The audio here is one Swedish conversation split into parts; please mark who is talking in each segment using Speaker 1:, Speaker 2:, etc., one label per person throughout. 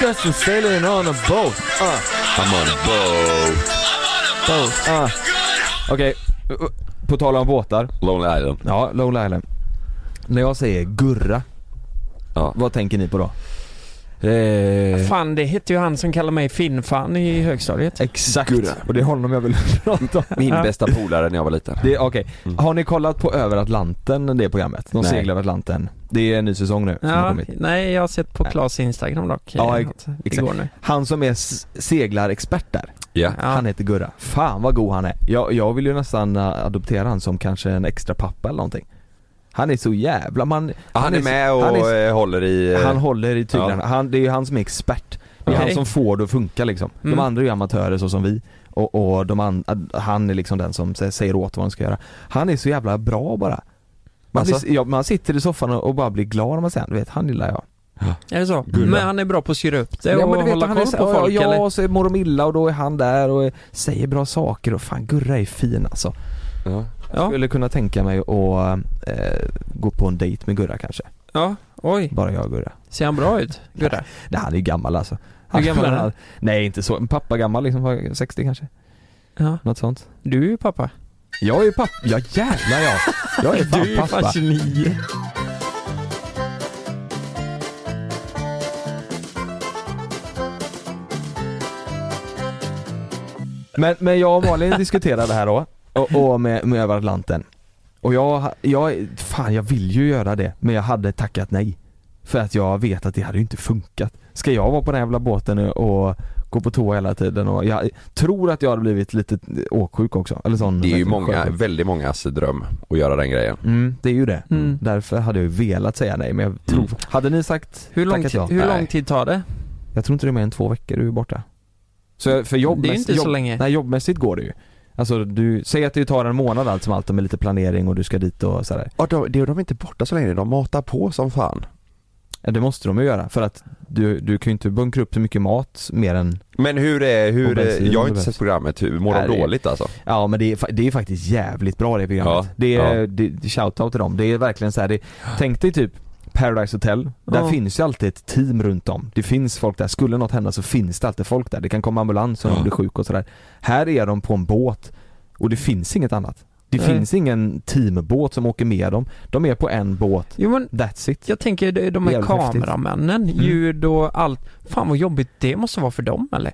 Speaker 1: dressed and sailing on a boat. Uh,
Speaker 2: I'm on a boat.
Speaker 1: boat. Uh. Okej, uh, uh, på tal om båtar.
Speaker 2: Lonely Island.
Speaker 1: Ja, Lonely Island. När jag säger Gurra,
Speaker 2: Ja.
Speaker 1: vad tänker ni på då?
Speaker 2: Eh,
Speaker 3: Fan, det hette ju han som kallade mig Finn-Fan i högstadiet.
Speaker 1: Exakt.
Speaker 2: Gurra.
Speaker 1: Och det är honom jag vill prata om.
Speaker 2: min bästa polare när jag var liten.
Speaker 1: Det, okej.
Speaker 2: Mm.
Speaker 1: Har ni kollat på Över Atlanten, det programmet? De
Speaker 2: Nej.
Speaker 1: seglar över Atlanten. Det är en ny säsong nu som har
Speaker 3: Ja,
Speaker 1: kommit.
Speaker 3: nej, jag har sett på Klas Instagram dock.
Speaker 1: Ja,
Speaker 3: eh,
Speaker 1: ex-
Speaker 3: att det
Speaker 1: exakt.
Speaker 3: går nu.
Speaker 1: Han som är s- seglarexpert där,
Speaker 2: Ja.
Speaker 3: Ja.
Speaker 1: han heter Gurra. Fan vad god han är. Jag, jag vill ju nästan äh, adoptera han som kanske en extra pappa eller någonting. Han är så jävla, man,
Speaker 2: Han, är
Speaker 1: så-
Speaker 2: med och
Speaker 1: han, är,
Speaker 2: eh, håller i... eh,
Speaker 1: han håller i tyglarna.
Speaker 2: Ja.
Speaker 1: Han, det är ju han som är expert. Det är
Speaker 3: Okej.
Speaker 1: han som får det att funka liksom.
Speaker 3: Mm.
Speaker 1: De andra är ju amatörer så som vi. Och, och de an, ad- han är liksom den som sä- säger åt vad de ska göra. Han är så jävla bra bara. Man,
Speaker 2: Alltså?
Speaker 1: blir, ja, man sitter i soffan och, och bara blir glad om man säger du vet han gillar jag.
Speaker 3: Är det så?
Speaker 2: Gurra.
Speaker 3: Men han är bra på att styra upp det
Speaker 1: Ja,
Speaker 3: och
Speaker 1: men du vet,
Speaker 3: hålla
Speaker 1: han
Speaker 3: koll
Speaker 1: är
Speaker 3: på
Speaker 1: så-
Speaker 3: folk
Speaker 1: ja,
Speaker 3: eller?
Speaker 1: Ja, så mår de illa och då är han där och säger bra saker och fan Gurra är fin alltså.
Speaker 2: Ja.
Speaker 1: Jag
Speaker 3: Ja,
Speaker 1: skulle kunna tänka mig att eh, gå på en dejt med Gurra kanske.
Speaker 3: ja, oj.
Speaker 1: Bara jag och Gurra.
Speaker 3: Ser han bra ut? Gurra?
Speaker 1: Nej han är ju gammal alltså.
Speaker 3: Hur gammal är han?
Speaker 1: Nej inte så, en pappa gammal liksom, 60 kanske.
Speaker 3: Ja.
Speaker 1: Något sånt.
Speaker 3: Du är ju pappa.
Speaker 1: Jag är ju pappa, ja jävlar jag. Jag är fan
Speaker 3: du är
Speaker 1: pappa.
Speaker 3: fan 29.
Speaker 1: Men, men jag och Malin diskuterade det här då, och, och med, med över Atlanten. Och jag, jag, fan jag vill ju göra det, men jag hade tackat nej. För att jag vet att det hade ju inte funkat. Ska jag vara på den här jävla båten nu och gå på toa hela tiden och jag tror att jag hade blivit lite åksjuk också, eller sån
Speaker 2: Det är ju
Speaker 1: vet du,
Speaker 2: många,
Speaker 1: sjösjuk.
Speaker 2: väldigt mångas dröm att göra den grejen.
Speaker 1: Mm, det är ju det.
Speaker 3: Mm.
Speaker 1: Därför hade jag ju velat säga nej men jag tror,
Speaker 2: Mm.
Speaker 1: hade ni sagt
Speaker 3: Hur lång,
Speaker 1: tackat
Speaker 3: tid,
Speaker 1: ja?
Speaker 3: hur
Speaker 2: Nej.
Speaker 3: lång tid tar det?
Speaker 1: Jag tror inte det är mer än två veckor du är borta. Så jag- för jobb,
Speaker 3: det är ju inte
Speaker 1: jobb,
Speaker 3: så länge.
Speaker 1: Nej jobbmässigt går det ju. Alltså du, säg att det tar en månad allt som allt och med lite planering och du ska dit och sådär.
Speaker 2: Ja, de, de är inte borta så länge, de matar på som fan.
Speaker 1: Ja, Det måste de ju göra för att du, du kan ju inte bunkra upp så mycket mat mer än
Speaker 2: Men hur är,
Speaker 1: Och
Speaker 2: hur,
Speaker 1: bensin
Speaker 2: jag har inte
Speaker 1: behövs.
Speaker 2: sett programmet, hur, mår
Speaker 1: Nej, det
Speaker 2: de
Speaker 1: är-
Speaker 2: dåligt alltså?
Speaker 1: Ja men det är, fa- det är faktiskt jävligt bra det programmet.
Speaker 2: Ja,
Speaker 1: det är,
Speaker 2: ja.
Speaker 1: det- det, shoutout till dem. Det är verkligen så här, det, tänk dig typ Paradise Hotel, där
Speaker 3: Ja.
Speaker 1: finns ju alltid ett team runt om. Det finns folk där, skulle något hända så finns det alltid folk där. Det kan komma ambulans om
Speaker 2: Ja.
Speaker 1: de blir sjuk och sådär. Här är de på en båt och det finns inget annat. Det
Speaker 3: Nej.
Speaker 1: finns ingen teambåt som åker med dem. De är på en båt,
Speaker 3: Jo men,
Speaker 1: that's it.
Speaker 3: jag tänker det- de här
Speaker 1: Jävligt häftigt. Mm.
Speaker 3: kameramännen, ljud och allt. Fan vad jobbigt det måste vara för dem eller?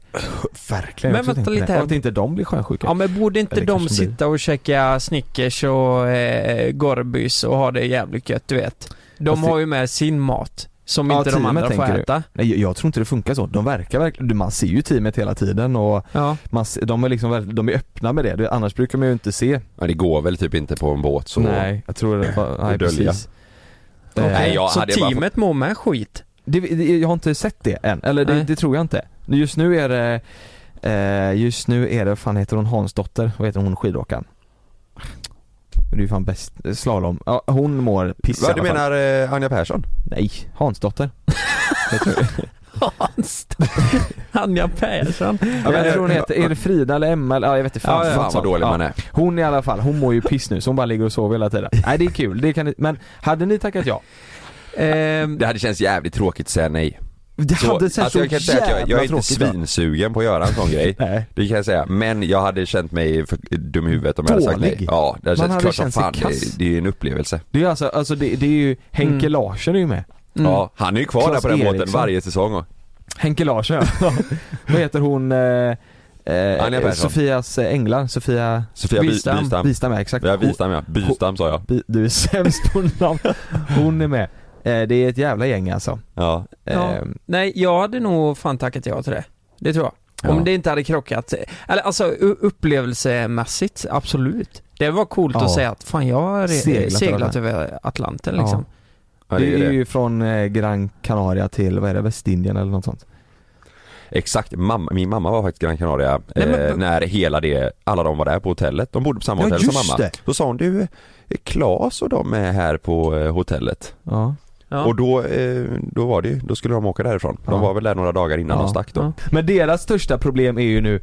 Speaker 1: Verkligen.
Speaker 3: Men
Speaker 1: jag också
Speaker 3: vänta
Speaker 1: tänkte
Speaker 3: lite
Speaker 1: det.
Speaker 3: här.
Speaker 1: Och att inte de blir sjösjuka.
Speaker 3: Ja men borde inte
Speaker 1: Eller
Speaker 3: de
Speaker 1: kanske de blir-
Speaker 3: sitta och käka Snickers och eh, Gorbys och ha det jävligt gött du vet? De
Speaker 1: Fast det-
Speaker 3: har ju med sin mat som
Speaker 1: Ja,
Speaker 3: inte de
Speaker 1: teamet
Speaker 3: andra får
Speaker 1: tänker du.
Speaker 3: äta.
Speaker 1: Nej, jag- jag tror inte det funkar så. De verkar verkligen, man ser ju teamet hela tiden och
Speaker 3: Ja.
Speaker 1: Man, se- de, är liksom, väl- de är öppna med det, Det- annars brukar man ju inte se
Speaker 2: Ja, det går väl typ inte på en båt så.
Speaker 1: Nej, jag tror det var, nej,
Speaker 2: dölja.
Speaker 1: precis. Eh,
Speaker 3: Okej,
Speaker 2: Nej, jag
Speaker 3: så
Speaker 2: hade bara
Speaker 3: teamet mår med skit?
Speaker 1: det, det, jag har inte sett det än, eller det,
Speaker 3: Nej.
Speaker 1: det tror jag inte Just nu är det, eh, just nu är det, vad fan heter hon, Hansdotter, vad heter hon, skidåkaren? Det är ju fan bäst, eh, slalom, ja, hon mår piss i
Speaker 2: Vad du
Speaker 1: alla fall.
Speaker 2: menar eh, Anja Persson?
Speaker 1: Nej, Hansdotter Jag tror-
Speaker 3: Hans Anja Persson.
Speaker 1: Ja, men jag tror hon heter, är det Frida eller Emma eller, ja jag vet inte fan,
Speaker 3: Ja,
Speaker 1: något
Speaker 3: ja.
Speaker 2: Fan vad
Speaker 1: sånt.
Speaker 2: dålig
Speaker 1: Ja.
Speaker 2: man är.
Speaker 1: Hon i alla fall, hon mår ju piss nu så hon bara ligger och sover hela tiden Nej det är kul, det kan ni, men hade ni tackat ja?
Speaker 3: Ehm,
Speaker 2: Det hade känts jävligt tråkigt att säga nej.
Speaker 1: Det
Speaker 2: Så,
Speaker 1: hade sett
Speaker 2: alltså,
Speaker 1: så
Speaker 2: jag kan säga att jag, jag är
Speaker 1: jävla
Speaker 2: inte
Speaker 1: tråkigt ut.
Speaker 2: svinsugen på att göra en sån grej.
Speaker 1: Nej.
Speaker 2: Det kan jag säga, men jag hade känt mig för dum i huvudet om jag hade sagt
Speaker 1: Dålig.
Speaker 2: nej. Ja, det hade
Speaker 1: Man
Speaker 2: känts
Speaker 1: hade
Speaker 2: klart som
Speaker 1: känt sig
Speaker 2: fan.
Speaker 1: kass.
Speaker 2: Det, det är ju en upplevelse.
Speaker 1: Det är alltså, alltså det, det är ju, Henke
Speaker 3: Mm.
Speaker 1: Larsen är ju med.
Speaker 3: mm.
Speaker 2: Ja, han är ju kvar
Speaker 1: Claes
Speaker 2: där på den båten
Speaker 1: Eriksson.
Speaker 2: varje säsong. och-
Speaker 1: Henke Larsen ja. Vad heter hon, eh,
Speaker 2: Anja
Speaker 1: eh,
Speaker 2: Persson.
Speaker 1: Sofias änglar, Sofia
Speaker 2: Sofia By-
Speaker 3: Bystam.
Speaker 2: Bystam.
Speaker 1: Wistam ja exakt.
Speaker 2: Ja, Bystam ja. Bystam sa jag.
Speaker 1: Hon- Bi- du är sämst på namn. Hon är med. Eh, det är ett jävla gäng alltså.
Speaker 2: Ja.
Speaker 3: Ja.
Speaker 1: Eh,
Speaker 3: Nej, jag hade nog fan tackat ja till det. Det tror jag. Om
Speaker 2: Ja.
Speaker 3: det inte hade krockat. Eller alltså u- upplevelsemässigt, absolut. Det var coolt
Speaker 1: Ja.
Speaker 3: att säga att fan jag har re-
Speaker 1: Seglat
Speaker 3: seglat,
Speaker 1: över
Speaker 3: över Atlanten
Speaker 1: Ja.
Speaker 3: liksom.
Speaker 2: ja,
Speaker 1: det,
Speaker 2: det är ju
Speaker 1: är
Speaker 2: det.
Speaker 1: ju från eh, Gran Canaria till, vad är det, Västindien eller något sånt.
Speaker 2: Exakt, mamma, min mamma var faktiskt i Gran Canaria
Speaker 3: Nej, men-
Speaker 2: eh, när hela det, alla de var där på hotellet. De bodde på samma
Speaker 1: Ja,
Speaker 2: hotell som
Speaker 1: just
Speaker 2: mamma.
Speaker 1: det.
Speaker 2: Då sa hon du, eh, Klas och de är här på eh, hotellet.
Speaker 1: Ja.
Speaker 3: Ja.
Speaker 2: Och då, eh, då var det ju, då skulle de åka därifrån.
Speaker 1: Ja.
Speaker 2: De var väl där några dagar innan
Speaker 1: Ja.
Speaker 2: de stack då.
Speaker 3: Ja.
Speaker 1: Men deras största problem är ju nu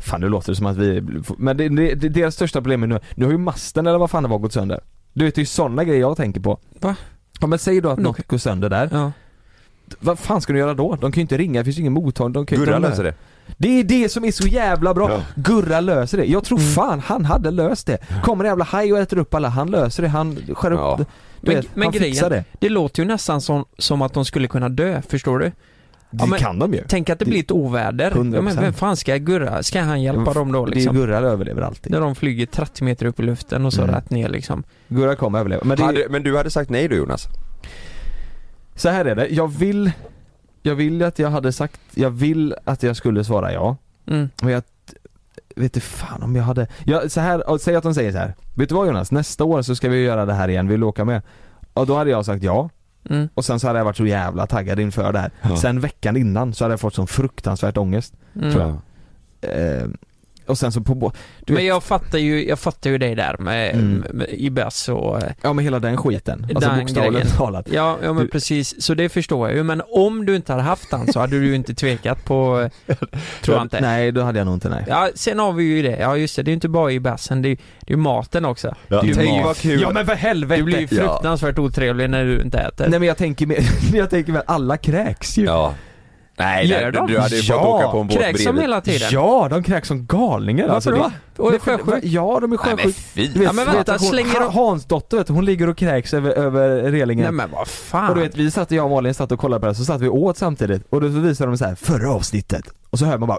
Speaker 1: Fan nu låter det som att vi, men det, det, det, deras största problem är nu, nu har ju masten eller vad fan det var gått sönder Du vet det är ju sådana grejer jag tänker på
Speaker 3: Va?
Speaker 1: Ja men säg då att
Speaker 3: Men då-
Speaker 1: något går sönder där,
Speaker 3: Ja.
Speaker 1: vad fan ska du göra då? De kan ju inte ringa, det finns ju ingen mottagning. De kan ju
Speaker 2: Gurra
Speaker 1: inte
Speaker 2: löser det.
Speaker 1: Det är det som är så jävla bra.
Speaker 2: Ja.
Speaker 1: Gurra löser det. Jag tror
Speaker 3: Mm.
Speaker 1: fan han hade löst det. Kommer en jävla haj och äter upp alla, han löser det. Han skär upp
Speaker 2: Ja.
Speaker 1: det. Du
Speaker 3: Men-
Speaker 1: vet,
Speaker 3: men
Speaker 1: han
Speaker 3: grejen-
Speaker 1: fixar det.
Speaker 3: Det låter ju nästan som, som att de skulle kunna dö, förstår du? Ja, men-
Speaker 1: kan de ju.
Speaker 3: Tänk att det
Speaker 1: Det-
Speaker 3: blir ett oväder. Ja,
Speaker 1: 100%.
Speaker 3: men vem fan ska Gurra, ska han hjälpa dem då liksom?
Speaker 1: Det är Gurra överlever alltid.
Speaker 3: När de flyger 30 meter upp i luften och så
Speaker 1: Mm.
Speaker 3: rätt ner liksom.
Speaker 1: Gurra kommer överleva. Men det,
Speaker 2: Hade, men du hade sagt nej då Jonas?
Speaker 1: så här är det, jag vill Jag vill att jag hade sagt, jag vill att jag skulle svara ja.
Speaker 3: Mm.
Speaker 1: Men jag vet du fan om jag hade, jag, så här, och säg att de säger så här. Vet du vad Jonas, nästa år så ska vi göra det här igen, vill du åka med? Och då hade jag sagt ja,
Speaker 3: Mm.
Speaker 1: och sen så hade jag varit så jävla taggad inför det här.
Speaker 2: Ja.
Speaker 1: Sen veckan innan så hade jag fått sån fruktansvärt ångest.
Speaker 3: Mm.
Speaker 2: Tror jag.
Speaker 1: Eh, och sen så på bå- du
Speaker 3: Men
Speaker 1: vet,
Speaker 3: jag fattar ju, jag fattar ju dig där med,
Speaker 1: Mm.
Speaker 3: med i bärs och eh,
Speaker 1: ja men hela den skiten. Alltså
Speaker 3: Den
Speaker 1: bokstavligt
Speaker 3: grejen.
Speaker 1: talat.
Speaker 3: Ja, ja men
Speaker 1: Du-
Speaker 3: precis, så det förstår jag ju. Men om du inte hade haft han så hade du ju inte tvekat på, eh, tror jag inte.
Speaker 1: Nej, då hade jag nog inte nej.
Speaker 3: Ja, sen har vi ju det, ja just det, det är ju inte bara i bärsen, det är ju det är ju maten också.
Speaker 2: Ja.
Speaker 1: Du
Speaker 2: Tänk
Speaker 1: mat.
Speaker 2: vad kul.
Speaker 1: Ja men för helvete!
Speaker 3: Du blir ju
Speaker 2: Ja.
Speaker 3: fruktansvärt otrevlig när du inte äter.
Speaker 1: Nej men jag tänker mer, jag tänker mer, alla kräks ju.
Speaker 2: Ja. Nej,
Speaker 3: Gör
Speaker 2: nej,
Speaker 3: de?
Speaker 2: du hade ju fått
Speaker 1: Ja.
Speaker 2: åka på en båt
Speaker 3: Kräks de
Speaker 2: bredvid.
Speaker 3: hela tiden?
Speaker 1: Ja, de kräks som galningar
Speaker 3: Varför
Speaker 1: alltså.
Speaker 3: då?
Speaker 1: Det,
Speaker 3: Och är
Speaker 1: Nej, för-
Speaker 3: sjösjuk?
Speaker 1: Ja, de är
Speaker 2: Nej men
Speaker 1: sjösjuka.
Speaker 2: fy.
Speaker 1: Du vet,
Speaker 3: Ja, men
Speaker 1: du vet
Speaker 3: vänta,
Speaker 1: att hon,
Speaker 3: slänger de-
Speaker 1: Ha- Hans dotter vet du, hon ligger och kräks över, över
Speaker 3: Nej
Speaker 1: relingen.
Speaker 3: men vad
Speaker 1: och du
Speaker 3: fan.
Speaker 1: vet, vi satt, jag och Malin satt och kollade på det här, så satt vi och åt samtidigt. Och då så visade de så här, förra avsnittet. Och så hör man bara,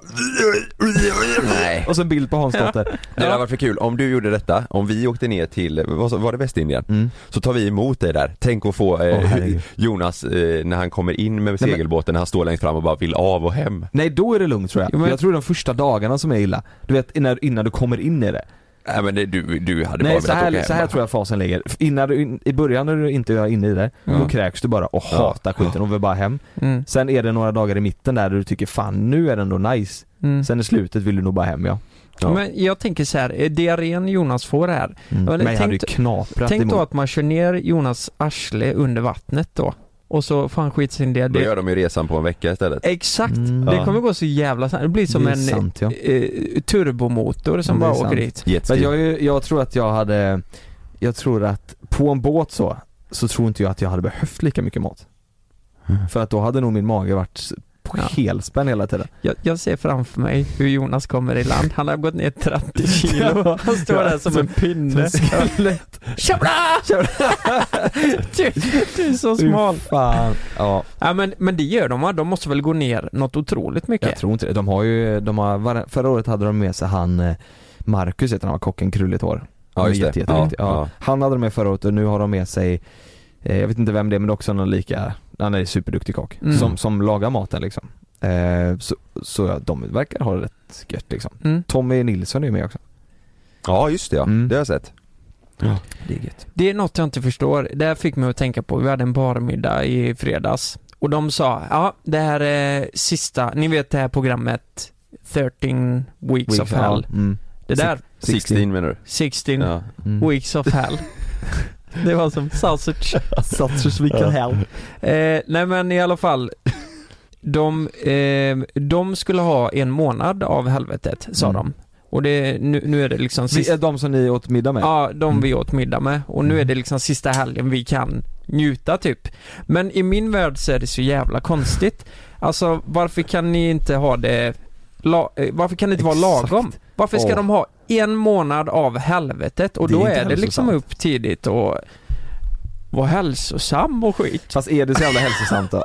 Speaker 2: Nej.
Speaker 1: och så en bild på Hans dotter.
Speaker 2: Det hade varit för kul om du gjorde detta, om vi åkte ner till, vad sa- var det Västindien?
Speaker 1: Mm.
Speaker 2: Så tar vi emot dig där, tänk att få eh,
Speaker 1: Åh, herregud.
Speaker 2: Jonas eh, när han kommer in med
Speaker 1: men-
Speaker 2: segelbåten, när han står längst fram och bara vill av och hem
Speaker 1: Nej, då är det lugnt tror jag.
Speaker 3: Jo, men-
Speaker 1: Jag tror de första dagarna som är illa. Du vet, innan, innan du kommer in i det.
Speaker 2: Nej men det, du, du hade bara
Speaker 1: Nej,
Speaker 2: velat
Speaker 1: så
Speaker 2: åka
Speaker 1: här,
Speaker 2: hem
Speaker 1: så här tror jag fasen ligger. F- Innan du, in, I början när du inte är inne i det, då
Speaker 2: Mm.
Speaker 1: kräks du bara och
Speaker 2: Ja.
Speaker 1: hatar skiten och vill bara hem.
Speaker 3: Mm.
Speaker 1: Sen är det några dagar i mitten där du tycker fan nu är det ändå nice.
Speaker 3: Mm.
Speaker 1: Sen i slutet vill du nog bara hem ja.
Speaker 2: Ja.
Speaker 3: Men jag tänker så här, eh, diarrén Jonas får här.
Speaker 1: Mm.
Speaker 3: Ja,
Speaker 1: Men,
Speaker 3: men
Speaker 1: jag hade ju
Speaker 3: tänk-
Speaker 1: knaprat
Speaker 3: Tänk
Speaker 1: emot.
Speaker 3: då att man kör ner Jonas arsle under vattnet då. Och så får han skit sin
Speaker 2: Då
Speaker 3: diarré.
Speaker 2: gör de ju resan på en vecka istället
Speaker 3: Exakt.
Speaker 1: Mm.
Speaker 3: Det
Speaker 1: Ja.
Speaker 3: kommer gå så jävla snabbt. Det blir som
Speaker 1: Det är
Speaker 3: en
Speaker 1: sant, ja.
Speaker 3: eh, turbomotor som
Speaker 1: Ja, det är
Speaker 3: bara åker
Speaker 1: sant.
Speaker 3: dit.
Speaker 1: Men
Speaker 2: Jetski
Speaker 1: jag, är ju- jag tror att jag hade, jag tror att på en båt så, så tror inte jag att jag hade behövt lika mycket mat.
Speaker 2: Mm.
Speaker 1: För att då hade nog min mage varit s- på
Speaker 3: Ja.
Speaker 1: helspänn hela tiden.
Speaker 3: Jag, jag ser framför mig hur Jonas kommer i land. Han har gått ner 30 kilo. Han står
Speaker 1: Ja,
Speaker 3: där som
Speaker 1: som-
Speaker 3: en pinne.
Speaker 1: Skelett.
Speaker 3: Tjabla! du, du är så smal.
Speaker 1: Fan. Ja,
Speaker 3: Ja, men, men det gör de va? De måste väl gå ner något otroligt
Speaker 1: jag
Speaker 3: mycket?
Speaker 1: tror inte det. De har ju, de har, var- förra året hade de med sig han eh, Marcus heter han, kocken, krulligt hår.
Speaker 2: Ja just det,
Speaker 1: Jätte, jätte, ja,
Speaker 2: ja.
Speaker 1: Han hade de med förra året och nu har de med sig eh, Jag vet inte vem det är men det är också någon lika Han är superduktig kock
Speaker 3: Mm.
Speaker 1: som, som lagar maten liksom eh, Så, så ja, de verkar ha det rätt gött liksom
Speaker 3: Mm.
Speaker 1: Tommy Nilsson är ju med också
Speaker 2: ja just det ja,
Speaker 1: Mm.
Speaker 2: det har jag sett
Speaker 1: Det är gött
Speaker 3: Det är något jag inte förstår. Det här fick mig att tänka på, vi hade en barmiddag i fredags. Och de sa, ja det här är sista, ni vet det här programmet 13 weeks of hell.
Speaker 1: mm.
Speaker 3: Det där,
Speaker 2: 16 menar du?
Speaker 3: 16
Speaker 2: Ja.
Speaker 1: Mm.
Speaker 3: weeks of hell. det var som sausage.
Speaker 1: Satsers week of hell
Speaker 3: Eh, nej men i alla fall. De, eh, de skulle ha en månad av helvetet, sa
Speaker 1: Mm.
Speaker 3: de. Och det, nu, nu är det liksom
Speaker 1: Vi
Speaker 3: sista,
Speaker 1: är de som ni åt middag med?
Speaker 3: ja de
Speaker 1: Mm.
Speaker 3: vi åt middag med. Och nu är det liksom sista helgen vi kan njuta typ. Men i min värld så är det så jävla konstigt. Alltså varför kan ni inte ha det, la, eh, varför kan det inte vara
Speaker 1: Exakt.
Speaker 3: lagom? Varför ska
Speaker 1: Åh.
Speaker 3: de ha en månad av helvetet och
Speaker 1: Det är
Speaker 3: då
Speaker 1: inte
Speaker 3: är det liksom
Speaker 1: hälsosamt.
Speaker 3: upp tidigt och vara hälsosam och skit.
Speaker 1: Fast är det så jävla hälsosamt då?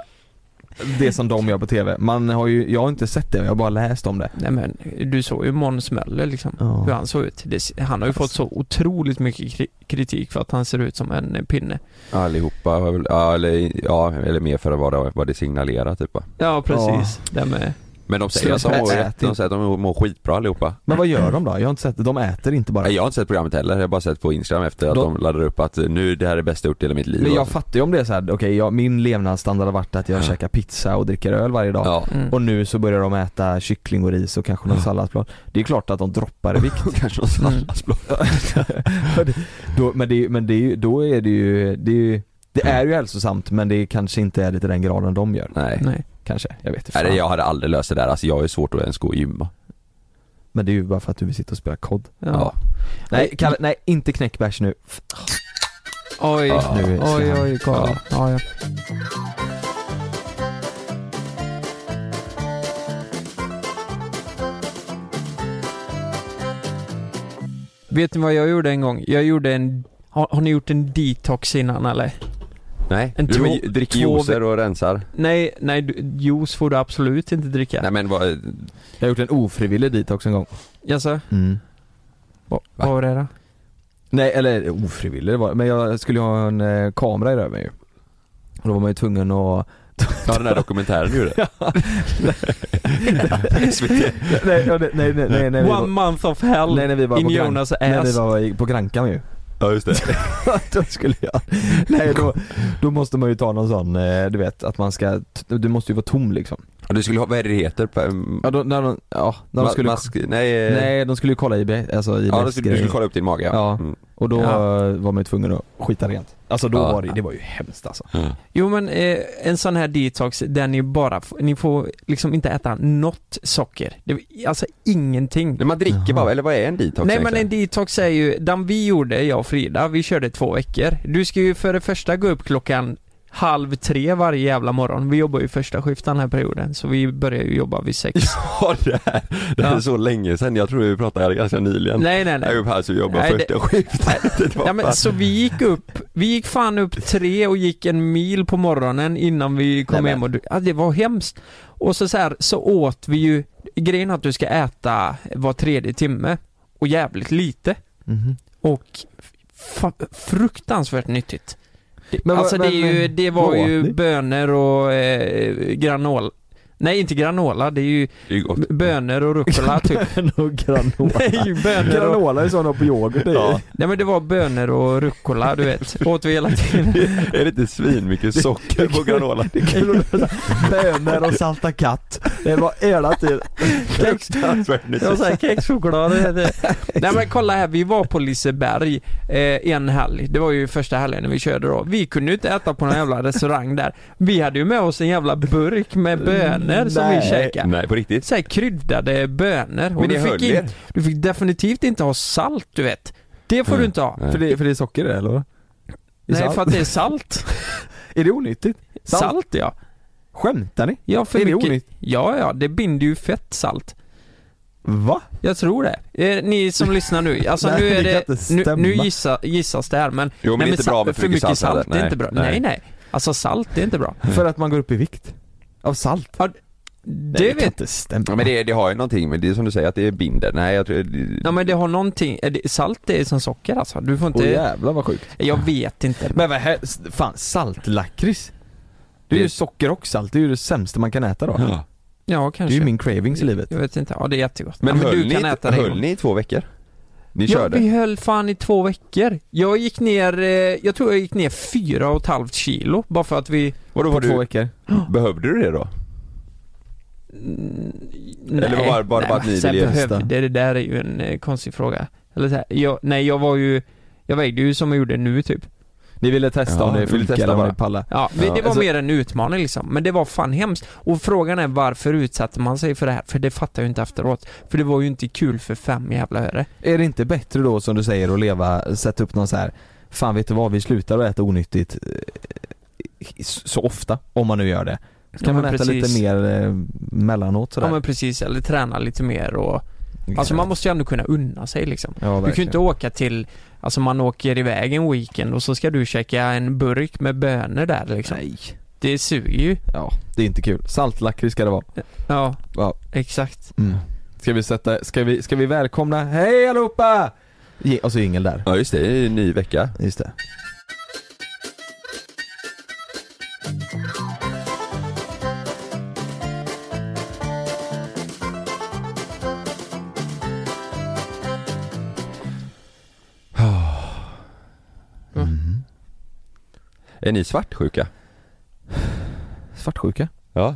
Speaker 1: Det som de gör på TV, man har ju, jag har inte sett det, jag har bara läst om det
Speaker 3: Nej men du såg ju Måns Möller liksom.
Speaker 1: Ja.
Speaker 3: Hur han såg ut. Det, han har ju fått så otroligt mycket kri- kritik för att han ser ut som en eh, pinne.
Speaker 2: Allihopa, har väl- ja eller, ja, eller mer för vad det, vad det signalerar typ va?
Speaker 3: Ja precis. Det med.
Speaker 2: Men de säger, att de,
Speaker 1: Sluta
Speaker 2: mår,
Speaker 1: ät
Speaker 2: jätte- de
Speaker 1: inte.
Speaker 2: säger att de mår skitbra allihopa
Speaker 1: Men vad gör de då? Jag har inte sett det, de äter inte bara
Speaker 2: Nej, Jag har inte sett programmet heller, jag har bara sett på Instagram efter att
Speaker 1: De-
Speaker 2: de, laddade upp att nu, det här är det bästa jag gjort i hela mitt liv
Speaker 1: Men jag
Speaker 2: Och-
Speaker 1: fattar ju om det är så här, okej jag- min levnadsstandard har varit att jag
Speaker 2: Ja.
Speaker 1: käkar pizza och dricker öl varje dag.
Speaker 2: Ja,
Speaker 3: Mm.
Speaker 1: Och nu så börjar de äta kyckling och ris och kanske någon
Speaker 2: Ja.
Speaker 1: salladsblad. Det är klart att de droppar i vikt.
Speaker 2: kanske någon
Speaker 3: Mm.
Speaker 2: salladsblad
Speaker 1: då, men det, men det, är ju- då är det ju, det är ju det
Speaker 2: Mm.
Speaker 1: är ju hälsosamt men det kanske inte är det till den graden de gör.
Speaker 2: Nej,
Speaker 3: Nej.
Speaker 1: Kanske, jag vet inte.
Speaker 2: Nej
Speaker 1: fan.
Speaker 2: det- jag hade aldrig löst det där, alltså jag är svårt att ens gå och gymma
Speaker 1: Men det är ju bara för att du vill sitta och spela kod.
Speaker 3: Ja.
Speaker 2: Ja.
Speaker 1: Nej, Kalle, nej inte knäckbärs nu.
Speaker 3: Oj.
Speaker 2: Ja.
Speaker 1: Nu
Speaker 3: Oj
Speaker 1: ska han-
Speaker 3: oj Karl. Ja. Ja, Vet ni vad jag gjorde en gång? Jag gjorde en... Har, har ni gjort en detox innan eller?
Speaker 2: Nej,
Speaker 3: En
Speaker 2: du men,
Speaker 3: två-
Speaker 2: dricker
Speaker 3: två
Speaker 2: juicer och rensar.
Speaker 3: Nej, nej, du, juice får du absolut inte dricka.
Speaker 2: Nej men vad,
Speaker 1: Jag har gjort en ofrivillig detox en gång
Speaker 3: Jaså?
Speaker 2: Mm.
Speaker 3: Vad
Speaker 2: Va?
Speaker 3: vad var det då?
Speaker 1: Nej eller ofrivillig det var men jag skulle ju ha en eh, kamera i röven ju Och då var man ju tvungen att
Speaker 2: ja den här dokumentären du gjorde. SVT.
Speaker 1: Nej ja, det- nej nej nej nej vi
Speaker 3: One
Speaker 1: var,
Speaker 3: month of hell
Speaker 1: nej, när vi var
Speaker 3: in
Speaker 1: på Gran-
Speaker 3: Jonas ass.
Speaker 1: Nej vi var i- på Grankan ju
Speaker 2: Ja just det.
Speaker 1: Då skulle jag Nej då, då måste man ju ta någon sån, eh, du vet att man ska, t- du måste ju vara tom liksom
Speaker 2: Ja, Du skulle ha, vad är det det heter? Pa- mm,
Speaker 1: Ja då, när de, ja när de
Speaker 2: ma-
Speaker 1: skulle
Speaker 2: mask, nej, eh,
Speaker 1: Nej de skulle ju kolla IB, alltså IBS
Speaker 2: ja, du, skulle, du skulle
Speaker 1: grejer.
Speaker 2: kolla upp din mage
Speaker 1: Ja.
Speaker 2: Mm.
Speaker 1: Och då
Speaker 3: Ja.
Speaker 1: eh, var man ju tvungen att skita rent Alltså då
Speaker 2: Ja.
Speaker 1: var det, det var ju hemskt alltså
Speaker 3: Jo men eh, en sån här detox där ni bara, f- ni får liksom inte äta något socker. Det, alltså ingenting.
Speaker 2: Nej, man dricker
Speaker 1: Jaha.
Speaker 2: bara, eller vad är en detox
Speaker 3: Nej men en
Speaker 2: egentligen?
Speaker 3: detox är ju, den vi gjorde, jag och Frida, vi körde två veckor. Du ska ju för det första gå upp klockan halv tre varje jävla morgon. Vi jobbar ju första skiften den här perioden, så vi börjar ju jobba vid sex.
Speaker 2: Ja det här, det här
Speaker 3: Ja.
Speaker 2: är så länge sedan, jag tror vi pratade ganska nyligen.
Speaker 3: nej nej
Speaker 2: Jag är
Speaker 3: nej.
Speaker 2: uppe här så vi jobbar
Speaker 3: Nej, det-
Speaker 2: första skiftet. Det var
Speaker 3: Ja, men,
Speaker 2: fan-
Speaker 3: så vi gick upp, vi gick fan upp tre och gick en mil på morgonen innan vi kom
Speaker 1: Nej, men.
Speaker 3: hem och du, ja, det var hemskt. Och så, så här, så åt vi ju, grejen är att du ska äta var tredje timme och jävligt lite
Speaker 1: Mhm.
Speaker 3: och fa- fruktansvärt nyttigt.
Speaker 1: Men vad-
Speaker 3: alltså det, är
Speaker 1: men-
Speaker 3: ju, det var
Speaker 1: vad åt
Speaker 3: ju
Speaker 1: ni?
Speaker 3: bönor och eh, granola. Nej inte granola, det är ju
Speaker 2: Det är ju gott.
Speaker 3: b- bönor och rucola typ.
Speaker 1: och granola
Speaker 3: Nej, bönor och,
Speaker 1: Granola är sån på yoghurt
Speaker 2: Ja.
Speaker 3: nej men det var bönor och rucola du vet. Åt vi hela tiden.
Speaker 2: Är det inte svin mycket socker på granola?
Speaker 1: Bönor och salta katt Det var hela tiden
Speaker 3: Kex,
Speaker 2: Fruktansvärt nyttigt.
Speaker 3: det var såhär kexchoklad. du vet. Nej men kolla här, vi var på Liseberg eh, en helg. Det var ju första helgen när vi körde då. Vi kunde ju inte äta på någon jävla restaurang där. Vi hade ju med oss en jävla burk med bönor som vi
Speaker 1: Mm, Nej.
Speaker 3: käkade.
Speaker 2: Nej på riktigt.
Speaker 3: så här kryddade bönor. Och
Speaker 2: Men det
Speaker 3: du,
Speaker 2: höll
Speaker 3: fick in,
Speaker 2: er?
Speaker 3: du fick definitivt inte ha salt du vet. Det får
Speaker 2: Mm.
Speaker 3: du inte ha.
Speaker 2: Nej.
Speaker 1: För det, för det är socker i det, eller?
Speaker 3: Nej
Speaker 1: salt.
Speaker 3: för att det är salt.
Speaker 1: Är det onyttigt?
Speaker 3: salt.
Speaker 1: Salt.
Speaker 3: ja.
Speaker 1: Skämtar ni?
Speaker 3: Ja för
Speaker 1: Är det
Speaker 3: mycket.
Speaker 1: onytt-
Speaker 3: Ja ja, det binder ju fett salt.
Speaker 1: Va?
Speaker 3: Jag tror det. Eh, ni som lyssnar nu, alltså
Speaker 1: Nej,
Speaker 3: nu är
Speaker 1: det
Speaker 3: det,
Speaker 1: kan inte
Speaker 3: nu, nu
Speaker 1: stämma.
Speaker 3: gissa, gissas det här men,
Speaker 2: Jo men,
Speaker 3: nej,
Speaker 2: det är inte bra
Speaker 3: salt-
Speaker 2: med för mycket salt, heller.
Speaker 3: det är inte bra. Nej. nej Alltså salt, det är inte bra.
Speaker 1: För att man går upp i vikt? Av salt?
Speaker 3: Det
Speaker 1: Nej, kan
Speaker 3: vet
Speaker 1: inte stämma
Speaker 2: Ja, men det, det har ju någonting men det är som du säger att det är binder. Nej jag tror...
Speaker 3: Ja men det har någonting, är det, salt det är som socker alltså. Du får inte,
Speaker 1: Åh
Speaker 2: Oh,
Speaker 1: jävlar vad sjukt
Speaker 3: jag vet inte.
Speaker 1: Men vad här, s- fan saltlakrits? Det är ju
Speaker 2: Det-
Speaker 1: socker och salt, det är ju det sämsta man kan äta då
Speaker 2: Ja.
Speaker 3: ja
Speaker 1: Det är
Speaker 3: kanske.
Speaker 1: ju min cravings i livet
Speaker 3: Jag vet inte, ja det är jättegott.
Speaker 2: Men,
Speaker 3: ja, men
Speaker 2: höll,
Speaker 3: du
Speaker 2: ni,
Speaker 3: kan äta det.
Speaker 2: höll ni i två veckor? Ni
Speaker 3: Ja,
Speaker 2: körde?
Speaker 3: vi höll fan i två veckor. Jag gick ner, eh, jag tror jag gick ner fyra och ett halvt kilo bara för att vi...
Speaker 2: Vadå, var
Speaker 1: På två
Speaker 2: du,
Speaker 1: veckor
Speaker 2: behövde du det då?
Speaker 3: Mm,
Speaker 2: Eller var det bara- bara att ni
Speaker 3: så här
Speaker 2: ville
Speaker 1: testa?
Speaker 3: behövde, det där är ju en eh, konstig fråga. Eller så här, jag, nej jag var ju, jag vägde ju som jag gjorde nu typ.
Speaker 1: Ni ville testa
Speaker 2: Ja,
Speaker 1: om det
Speaker 2: vi ville
Speaker 1: funkar
Speaker 2: testa
Speaker 1: eller om
Speaker 2: bara.
Speaker 1: ni pallar
Speaker 3: Ja, men
Speaker 2: Ja,
Speaker 3: det var
Speaker 1: alltså-
Speaker 3: mer en utmaning liksom. Men det var fan hemskt. Och frågan är varför utsatte man sig för det här? För det fattar jag ju inte efteråt. För det var ju inte kul för fem jävla öre.
Speaker 1: Är det inte bättre då som du säger att leva, sätta upp någon så här Fan vet du vad, vi slutar att äta onyttigt eh, s- så ofta, om man nu gör det. Så
Speaker 3: Ja,
Speaker 1: kan
Speaker 3: men
Speaker 1: man äta
Speaker 3: precis.
Speaker 1: lite mer eh, mellanåt sådär. Liksom.
Speaker 3: Ja men precis, eller träna lite mer och... Alltså man måste ju ändå kunna unna sig liksom.
Speaker 1: ja,
Speaker 3: Du kan ju
Speaker 1: verkligen.
Speaker 3: inte åka till, alltså man åker iväg en weekend och så ska du käka en burk med bönor där liksom.
Speaker 1: Nej.
Speaker 3: Det suger ju.
Speaker 1: Ja, det är inte kul. Saltlakrits ska det vara.
Speaker 3: Ja,
Speaker 1: Ja.
Speaker 3: exakt.
Speaker 1: Mm. Ska vi sätta, ska vi, ska vi välkomna, hej allihopa! Ge, och så jingel där.
Speaker 2: Ja just det, det är en ny vecka.
Speaker 1: Just det.
Speaker 2: Är ni svartsjuka?
Speaker 1: Svartsjuka?
Speaker 2: Ja.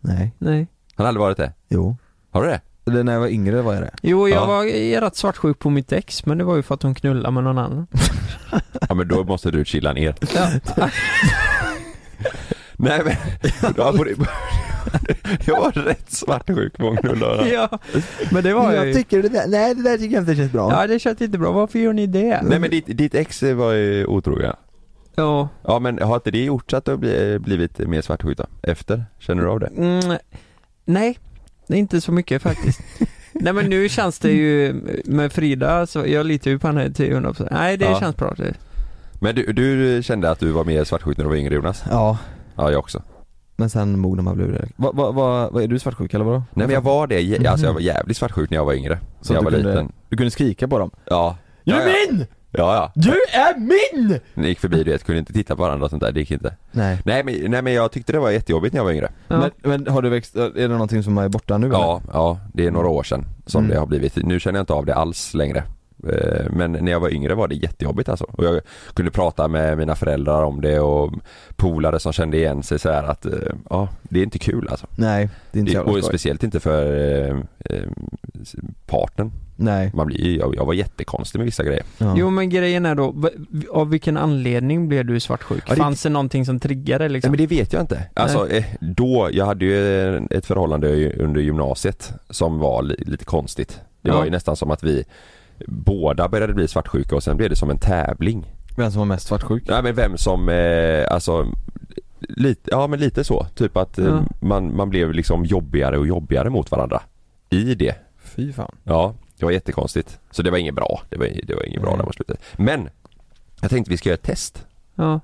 Speaker 1: Nej.
Speaker 3: Nej.
Speaker 2: Har ni aldrig varit det?
Speaker 1: Jo.
Speaker 2: Har du det?
Speaker 1: Eller när jag var yngre var jag det.
Speaker 3: Jo, jag
Speaker 2: Ja.
Speaker 3: var är rätt svartsjuk på mitt ex, men det var ju för att hon knullade med någon annan.
Speaker 2: Ja men då måste du chilla ner. Nej men, ja, på, det- jag var rätt svartsjuk på knullorna.
Speaker 3: ja, men det var jag ju.
Speaker 1: tycker det där, nej det där tycker jag inte känns bra.
Speaker 3: Ja, det känns inte bra. Varför gör ni det?
Speaker 2: Nej men ditt, ditt ex var ju otrogen.
Speaker 3: Ja.
Speaker 2: Ja men har inte det gjort så att du har bli- blivit mer svartsjuk då? Efter? Känner du av det?
Speaker 3: Mm, nej, det är inte så mycket faktiskt. Nej men nu känns det ju med Frida, så jag litar ju på henne till 100% Nej det
Speaker 2: Ja.
Speaker 3: känns bra det.
Speaker 2: Men du, du kände att du var mer svartsjuk när du var yngre Jonas?
Speaker 1: Ja,
Speaker 2: Ja, jag också.
Speaker 1: men sen mognar man blir det. Vad, vad, vad, vad, är du svartsjuk eller vadå?
Speaker 2: Nej men jag var det, jä- alltså jag var jävligt svartsjuk när jag var yngre.
Speaker 1: Så
Speaker 2: när jag
Speaker 1: att
Speaker 2: var
Speaker 1: du kunde-
Speaker 2: liten.
Speaker 1: Du kunde skrika på dem.
Speaker 2: Ja.
Speaker 1: Du
Speaker 2: ja, ja.
Speaker 1: är min!
Speaker 2: ja, ja.
Speaker 1: Du är min!
Speaker 2: Ni gick förbi du vet, kunde inte titta på varandra och sånt där, det gick inte.
Speaker 1: Nej.
Speaker 2: Nej men, nej men jag tyckte det var jättejobbigt när jag var yngre.
Speaker 3: Ja.
Speaker 1: Men, men har du växt, är det någonting som är borta nu eller?
Speaker 2: Ja, ja, det är några år sedan som
Speaker 1: Mm.
Speaker 2: det har blivit. Nu känner jag inte av det alls längre. Eh, Men när jag var yngre var det jättejobbigt alltså. Och jag kunde prata med mina föräldrar om det och polare som kände igen sig så här att, eh, ja, det är inte kul alltså.
Speaker 1: Nej, det är inte
Speaker 2: Det,
Speaker 1: jävla
Speaker 2: och
Speaker 1: skoj.
Speaker 2: speciellt inte för eh, eh, partnern.
Speaker 1: Nej.
Speaker 2: Man blir, ju- jag, jag var jättekonstig med vissa grejer.
Speaker 1: Ja.
Speaker 3: Jo men grejen är då, v- av vilken anledning blev du svartsjuk?
Speaker 2: Ja, det-
Speaker 3: Fanns det någonting som triggade
Speaker 2: Nej,
Speaker 3: liksom?
Speaker 2: men det vet jag inte. Alltså eh, då, jag hade ju eh, ett förhållande ju under gymnasiet som var li, lite konstigt. Det var
Speaker 3: Ja.
Speaker 2: ju nästan som att vi båda började bli svartsjuka och sen blev det som en tävling.
Speaker 1: Vem som var mest svartsjuk?
Speaker 2: Nej men vem som, eh, alltså lite, ja men lite så. Typ att eh,
Speaker 3: Ja.
Speaker 2: man, man blev liksom jobbigare och jobbigare mot varandra. I det.
Speaker 1: Fy fan.
Speaker 2: Ja, det var jättekonstigt. Så det var inget bra. Det var, det var inget bra
Speaker 1: Nej.
Speaker 2: när man slutade. Men! Jag tänkte vi ska göra ett test.
Speaker 3: Ja.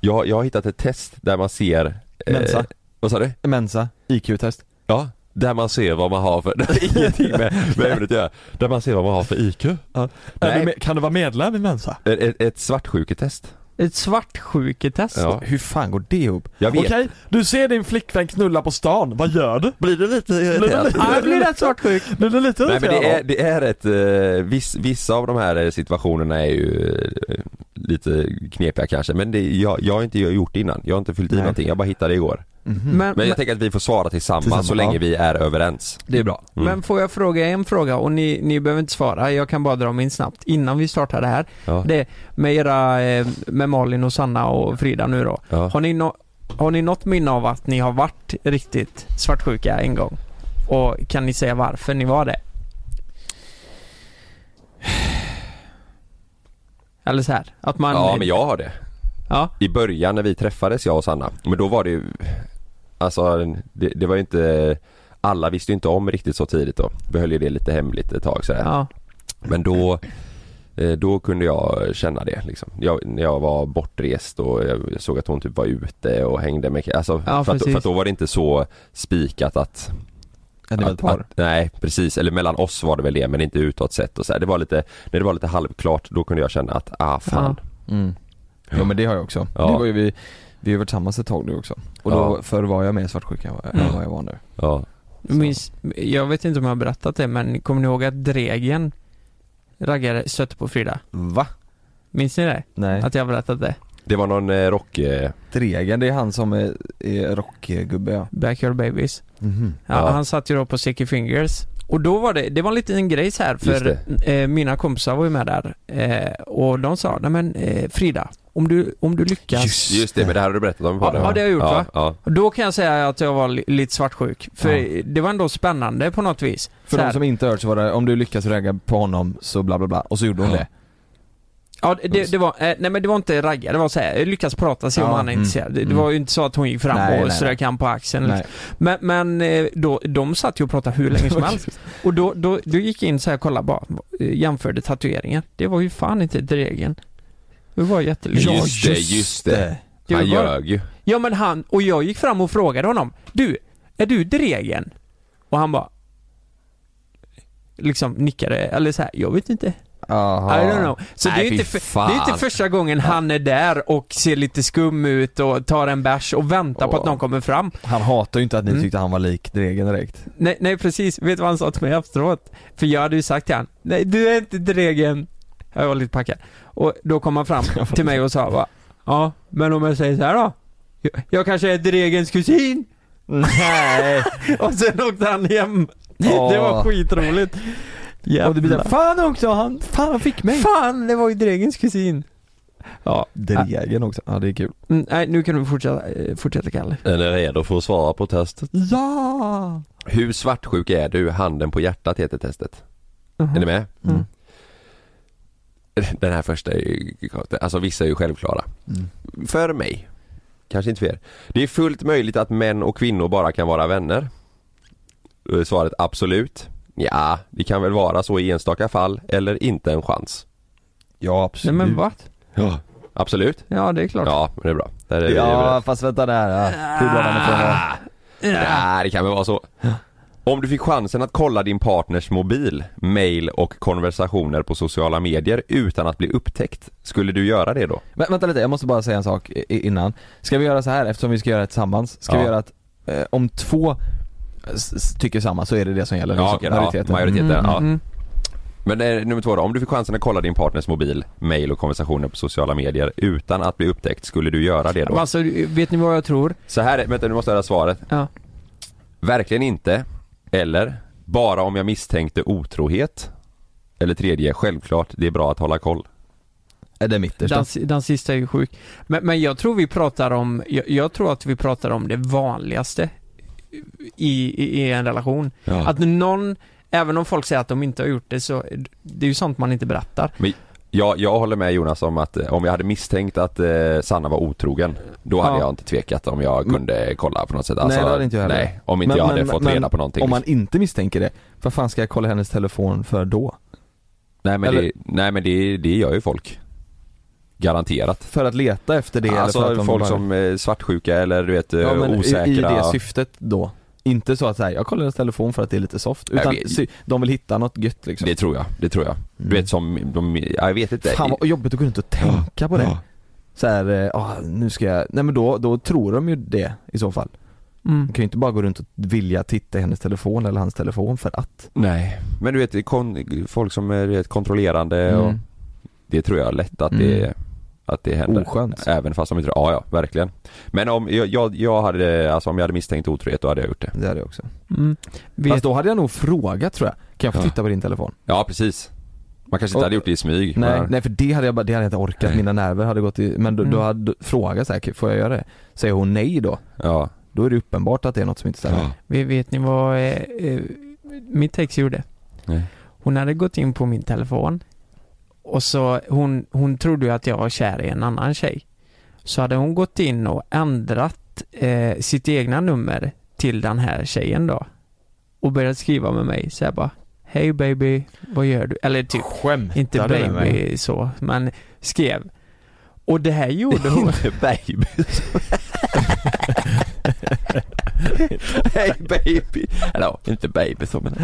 Speaker 2: Jag, jag har hittat ett test där man ser... eh,
Speaker 1: Mensa.
Speaker 2: vad sa du?
Speaker 1: Mensa, IQ-test.
Speaker 2: Ja, där man ser vad man har för... Det har ingenting med, med ämnet att göra. Där man ser vad man har för IQ.
Speaker 1: Ja.
Speaker 2: Nej. Är du med-
Speaker 1: kan du vara medlem i Mensa?
Speaker 2: Ett, ett, ett svartsjuketest.
Speaker 3: Ett svartsjuketest?
Speaker 2: Ja.
Speaker 1: Hur fan går det ihop?
Speaker 2: Jag vet.
Speaker 1: du ser din flickvän knulla på stan, vad gör du?
Speaker 2: Blir du lite irriterad?
Speaker 3: Ja, jag blir rätt svartsjuk.
Speaker 1: Blir du lite
Speaker 2: Nej men det är, det är ett, eh, viss, vissa av de här eh, situationerna är ju eh, lite knepiga kanske men det, jag, jag har inte gjort det innan, jag har inte fyllt i
Speaker 1: Nej.
Speaker 2: någonting, jag bara hittade det igår.
Speaker 1: Mhm.
Speaker 3: Men,
Speaker 2: Mm. Men
Speaker 3: men,
Speaker 2: jag tänker att vi får svara tillsammans,
Speaker 1: Tillsammans,
Speaker 2: så länge
Speaker 1: ja.
Speaker 2: vi är överens.
Speaker 1: Det är bra.
Speaker 2: Mm.
Speaker 3: men får jag fråga en fråga och ni, ni behöver inte svara, jag kan bara dra min snabbt innan vi startar det här.
Speaker 2: Ja.
Speaker 3: Det med era, eh, med Malin och Sanna och Frida nu då.
Speaker 2: Ja.
Speaker 3: Har ni, nå har ni något minne av att ni har varit riktigt svartsjuka en gång? Och kan ni säga varför ni var det? Eller så här, att man...
Speaker 2: ja men jag har det.
Speaker 3: Ja,
Speaker 2: I början när vi träffades jag och Sanna, men då var det ju Alltså det, det var ju inte Alla visste ju inte om riktigt så tidigt då. Vi höll ju det lite hemligt ett tag sådär.
Speaker 3: ja.
Speaker 2: Men då eh, Då kunde jag känna det liksom. jag, När jag var bortrest och jag såg att hon typ var ute och hängde med alltså,
Speaker 3: Ja,
Speaker 2: för, att,
Speaker 3: precis.
Speaker 2: för att då var det inte så spikat att
Speaker 1: Ja, det är väl ett
Speaker 2: att,
Speaker 1: par.
Speaker 2: att, nej precis, eller mellan oss var det väl det men inte utåt sett och så här. Det var lite, när det var lite halvklart då kunde jag känna att ah fan
Speaker 1: Mm. Ja men det har jag också.
Speaker 2: Ja.
Speaker 1: Det var ju vi, vi har varit tillsammans ett tag nu också. Och då,
Speaker 2: Ja.
Speaker 1: förr var jag mer svartsjuk än vad- än vad jag var nu.
Speaker 2: Ja,
Speaker 3: Jag Minns, jag vet inte om jag har berättat det men kommer ni ihåg att Dregen raggare stötte på Frida?
Speaker 1: Va?
Speaker 3: Minns ni det?
Speaker 1: Nej.
Speaker 3: Att jag har berättat det?
Speaker 2: Det var någon eh, rock eh,
Speaker 1: Dregen, det är han som är, är rockgubbe ja.
Speaker 3: Backyard Babies.
Speaker 1: Mhm.
Speaker 3: Ja,
Speaker 2: Ja.
Speaker 3: Han satt ju då på Sticky Fingers. Och då var det, det var en liten grej så här för eh, mina kompisar var ju med där. Eh, och de sa, nej men eh, Frida, om du, om du lyckas.
Speaker 2: Just det, men det här har du berättat om i podden
Speaker 3: Ja, det har jag gjort,
Speaker 2: ja,
Speaker 3: va?
Speaker 2: Ja.
Speaker 3: Och Då kan jag säga att jag var li- lite svartsjuk. För
Speaker 1: Ja.
Speaker 3: det var ändå spännande på något vis.
Speaker 1: För
Speaker 3: Så
Speaker 1: de
Speaker 3: här.
Speaker 1: som inte hört så var det, om du lyckas ragga på honom så bla bla bla, och så gjorde hon
Speaker 2: Ja.
Speaker 1: det.
Speaker 3: Ja, det, det var, eh, nej men det var inte ragga, det var så här, jag lyckas prata se om
Speaker 1: Ja,
Speaker 3: han är
Speaker 1: mm,
Speaker 3: intresserad. Det, det
Speaker 1: mm.
Speaker 3: var ju inte så att hon gick fram
Speaker 1: Nej, nej,
Speaker 3: och
Speaker 1: nej.
Speaker 3: strök han på axeln.
Speaker 1: Nej.
Speaker 3: Men, men eh, då, de satt ju och pratade hur länge som helst. Och då, då, då gick jag in så här och kollade bara, eh, jämförde tatueringar. Det var ju fan inte Dregen. Det var jättelöjligt.
Speaker 2: Ja, just det, just det.
Speaker 3: Det
Speaker 2: Han
Speaker 3: var bara-
Speaker 2: ljög ju.
Speaker 3: Ja men han, och jag gick fram och frågade honom. Du, är du Dregen? Och han bara Liksom nickade, eller så här, jag vet inte.
Speaker 1: Jaha.
Speaker 3: I don't know. Så
Speaker 2: Nej,
Speaker 3: det, är
Speaker 2: fy
Speaker 3: inte för,
Speaker 2: fan.
Speaker 3: det är inte första gången han är där och ser lite skum ut och tar en bärs och väntar på
Speaker 1: Åh.
Speaker 3: att någon kommer fram.
Speaker 1: Han hatar ju inte att ni
Speaker 3: Mm.
Speaker 1: tyckte han var lik Dregen direkt.
Speaker 3: Nej, nej precis, vet du vad han sa till mig efteråt? För jag hade ju sagt till han, nej du är inte Dregen. Jag var lite packad. Och då kom han fram till mig och sa va, ja men om jag säger så här då? Jag, jag kanske är Dregens kusin?
Speaker 1: Nej!
Speaker 3: Och sen åkte han hem. Det var
Speaker 1: Åh.
Speaker 3: skitroligt.
Speaker 1: och det blir såhär,
Speaker 3: Jävlar.
Speaker 1: fan också, han, fan han fick mig!
Speaker 3: Fan, det var ju Dregens kusin. Ja,
Speaker 1: Dregen också, ja det är kul.
Speaker 3: mm, nej nu kan du fortsätta, eh, fortsätta Kalle.
Speaker 2: Är ni redo för att svara på testet?
Speaker 1: Ja!
Speaker 2: Hur svartsjuk är du? Handen på hjärtat heter testet. Är ni med?
Speaker 1: Mm.
Speaker 2: Den här första är ju, alltså vissa är ju självklara.
Speaker 1: Mm.
Speaker 2: För mig, kanske inte för er. Det är fullt möjligt att män och kvinnor bara kan vara vänner. Då är Eh, svaret absolut. Ja, det kan väl vara så i enstaka fall eller inte en chans.
Speaker 1: Ja
Speaker 3: Nej
Speaker 1: absolut.
Speaker 3: men vad?
Speaker 2: Ja. Absolut.
Speaker 3: Ja det är klart.
Speaker 2: Ja, men det är bra. Där är vi överens.
Speaker 1: Ja fast vänta där. Ja. Hur drar man ifrån det?
Speaker 2: Nej, det kan väl vara så. Om du fick chansen att kolla din partners mobil, mail och konversationer på sociala medier utan att bli upptäckt, skulle du göra det då?
Speaker 1: Men vänta lite, jag måste bara säga en sak i- innan. Ska vi göra så här eftersom vi ska göra det tillsammans? Ska
Speaker 2: Ja.
Speaker 1: vi göra att eh, om två s- s- tycker samma så är det det som gäller? liksom,
Speaker 2: okej,
Speaker 1: majoriteten.
Speaker 2: majoriteten
Speaker 3: Mm,
Speaker 2: ja.
Speaker 3: mm.
Speaker 2: Men det är nummer två då, om du fick chansen att kolla din partners mobil, mail och konversationer på sociala medier utan att bli upptäckt, skulle du göra det
Speaker 3: Men
Speaker 2: då?
Speaker 3: Alltså, vet ni vad jag tror?
Speaker 2: Så här är, vänta nu måste jag höra svaret.
Speaker 3: Ja.
Speaker 2: Verkligen inte, eller bara om jag misstänkte otrohet. Eller tredje, självklart, det är bra att hålla koll.
Speaker 1: Är det mitt
Speaker 3: Den,
Speaker 1: då?
Speaker 3: si- den sista är ju sjuk. Men, men jag tror vi pratar om, jag, jag tror att vi pratar om det vanligaste i, i, i en relation. Att någon, även om folk säger att de inte har gjort det så, det är ju sånt man inte berättar.
Speaker 2: Jag, jag håller med Jonas om att eh, om jag hade misstänkt att eh, Sanna var otrogen Då hade
Speaker 3: Ja.
Speaker 2: jag inte tvekat om jag kunde kolla på något sätt alltså,
Speaker 1: Nej, det hade inte jag heller.
Speaker 2: Nej, om inte
Speaker 1: Men-
Speaker 2: jag hade
Speaker 1: men-
Speaker 2: fått
Speaker 1: men
Speaker 2: reda på någonting
Speaker 1: Om man inte misstänker det, vad fan ska jag kolla hennes telefon för då?
Speaker 2: Nej men,
Speaker 1: eller-
Speaker 2: det, nej, men det, det gör ju folk Garanterat
Speaker 1: För att leta efter det eller för att
Speaker 2: Alltså
Speaker 1: de
Speaker 2: folk
Speaker 1: bara-
Speaker 2: som är svartsjuka eller du vet eh,
Speaker 1: ja, men
Speaker 2: osäkra
Speaker 1: I, I det syftet då? Inte så att säga, jag kollar hennes telefon för att det är lite soft,
Speaker 2: Nej,
Speaker 1: utan
Speaker 2: vi-
Speaker 1: sy- de vill hitta något gött liksom
Speaker 2: Det tror jag, det tror jag Du vet som, de, ja, jag vet inte
Speaker 1: Mm. Fan vad jobbigt att gå runt och tänka på det
Speaker 2: Ja.
Speaker 1: Så här, eh, ah, nu ska jag, nej men då, då tror de ju det i så fall
Speaker 3: Mm.
Speaker 1: Man kan ju inte bara gå runt och vilja titta i hennes telefon eller hans telefon för att
Speaker 2: Nej, men du vet det är kon, folk som är du vet, kontrollerande och Det tror jag är lätt att det,
Speaker 1: Mm. Oh,
Speaker 2: att det händer
Speaker 1: Oskönt
Speaker 2: Även fast de inte, ja ja, verkligen. Men om jag, jag, jag hade, alltså om jag hade misstänkt otrohet då hade jag gjort det.
Speaker 1: Det hade jag också
Speaker 3: Mm. Vet,
Speaker 1: Fast då hade jag nog frågat tror jag, kan jag få
Speaker 2: Ja.
Speaker 1: titta på din telefon?
Speaker 2: Ja precis. Man kanske inte
Speaker 1: Och-
Speaker 2: hade gjort det i smyg.
Speaker 1: Nej,
Speaker 2: men,
Speaker 1: nej för det hade jag bara, det hade jag inte orkat,
Speaker 2: Nej.
Speaker 1: mina nerver hade gått i, men då, då
Speaker 3: Mm.
Speaker 1: hade du frågat säkert, får jag göra det? Säger hon nej då,
Speaker 2: Ja.
Speaker 1: då är det uppenbart att det är något som inte stämmer
Speaker 3: vet, vet ni vad eh, eh, mitt ex gjorde?
Speaker 2: Nej.
Speaker 3: Hon hade gått in på min telefon och så, hon, hon trodde ju att jag var kär i en annan tjej. Så hade hon gått in och ändrat eh, sitt egna nummer till den här tjejen då. Och börjat skriva med mig så här bara Hej baby, vad gör du? Eller typ
Speaker 1: Skämtar
Speaker 3: Inte
Speaker 1: du med mig?
Speaker 3: baby så, men skrev. Och det här gjorde hon.
Speaker 2: baby. Hej baby. Eller inte baby så men.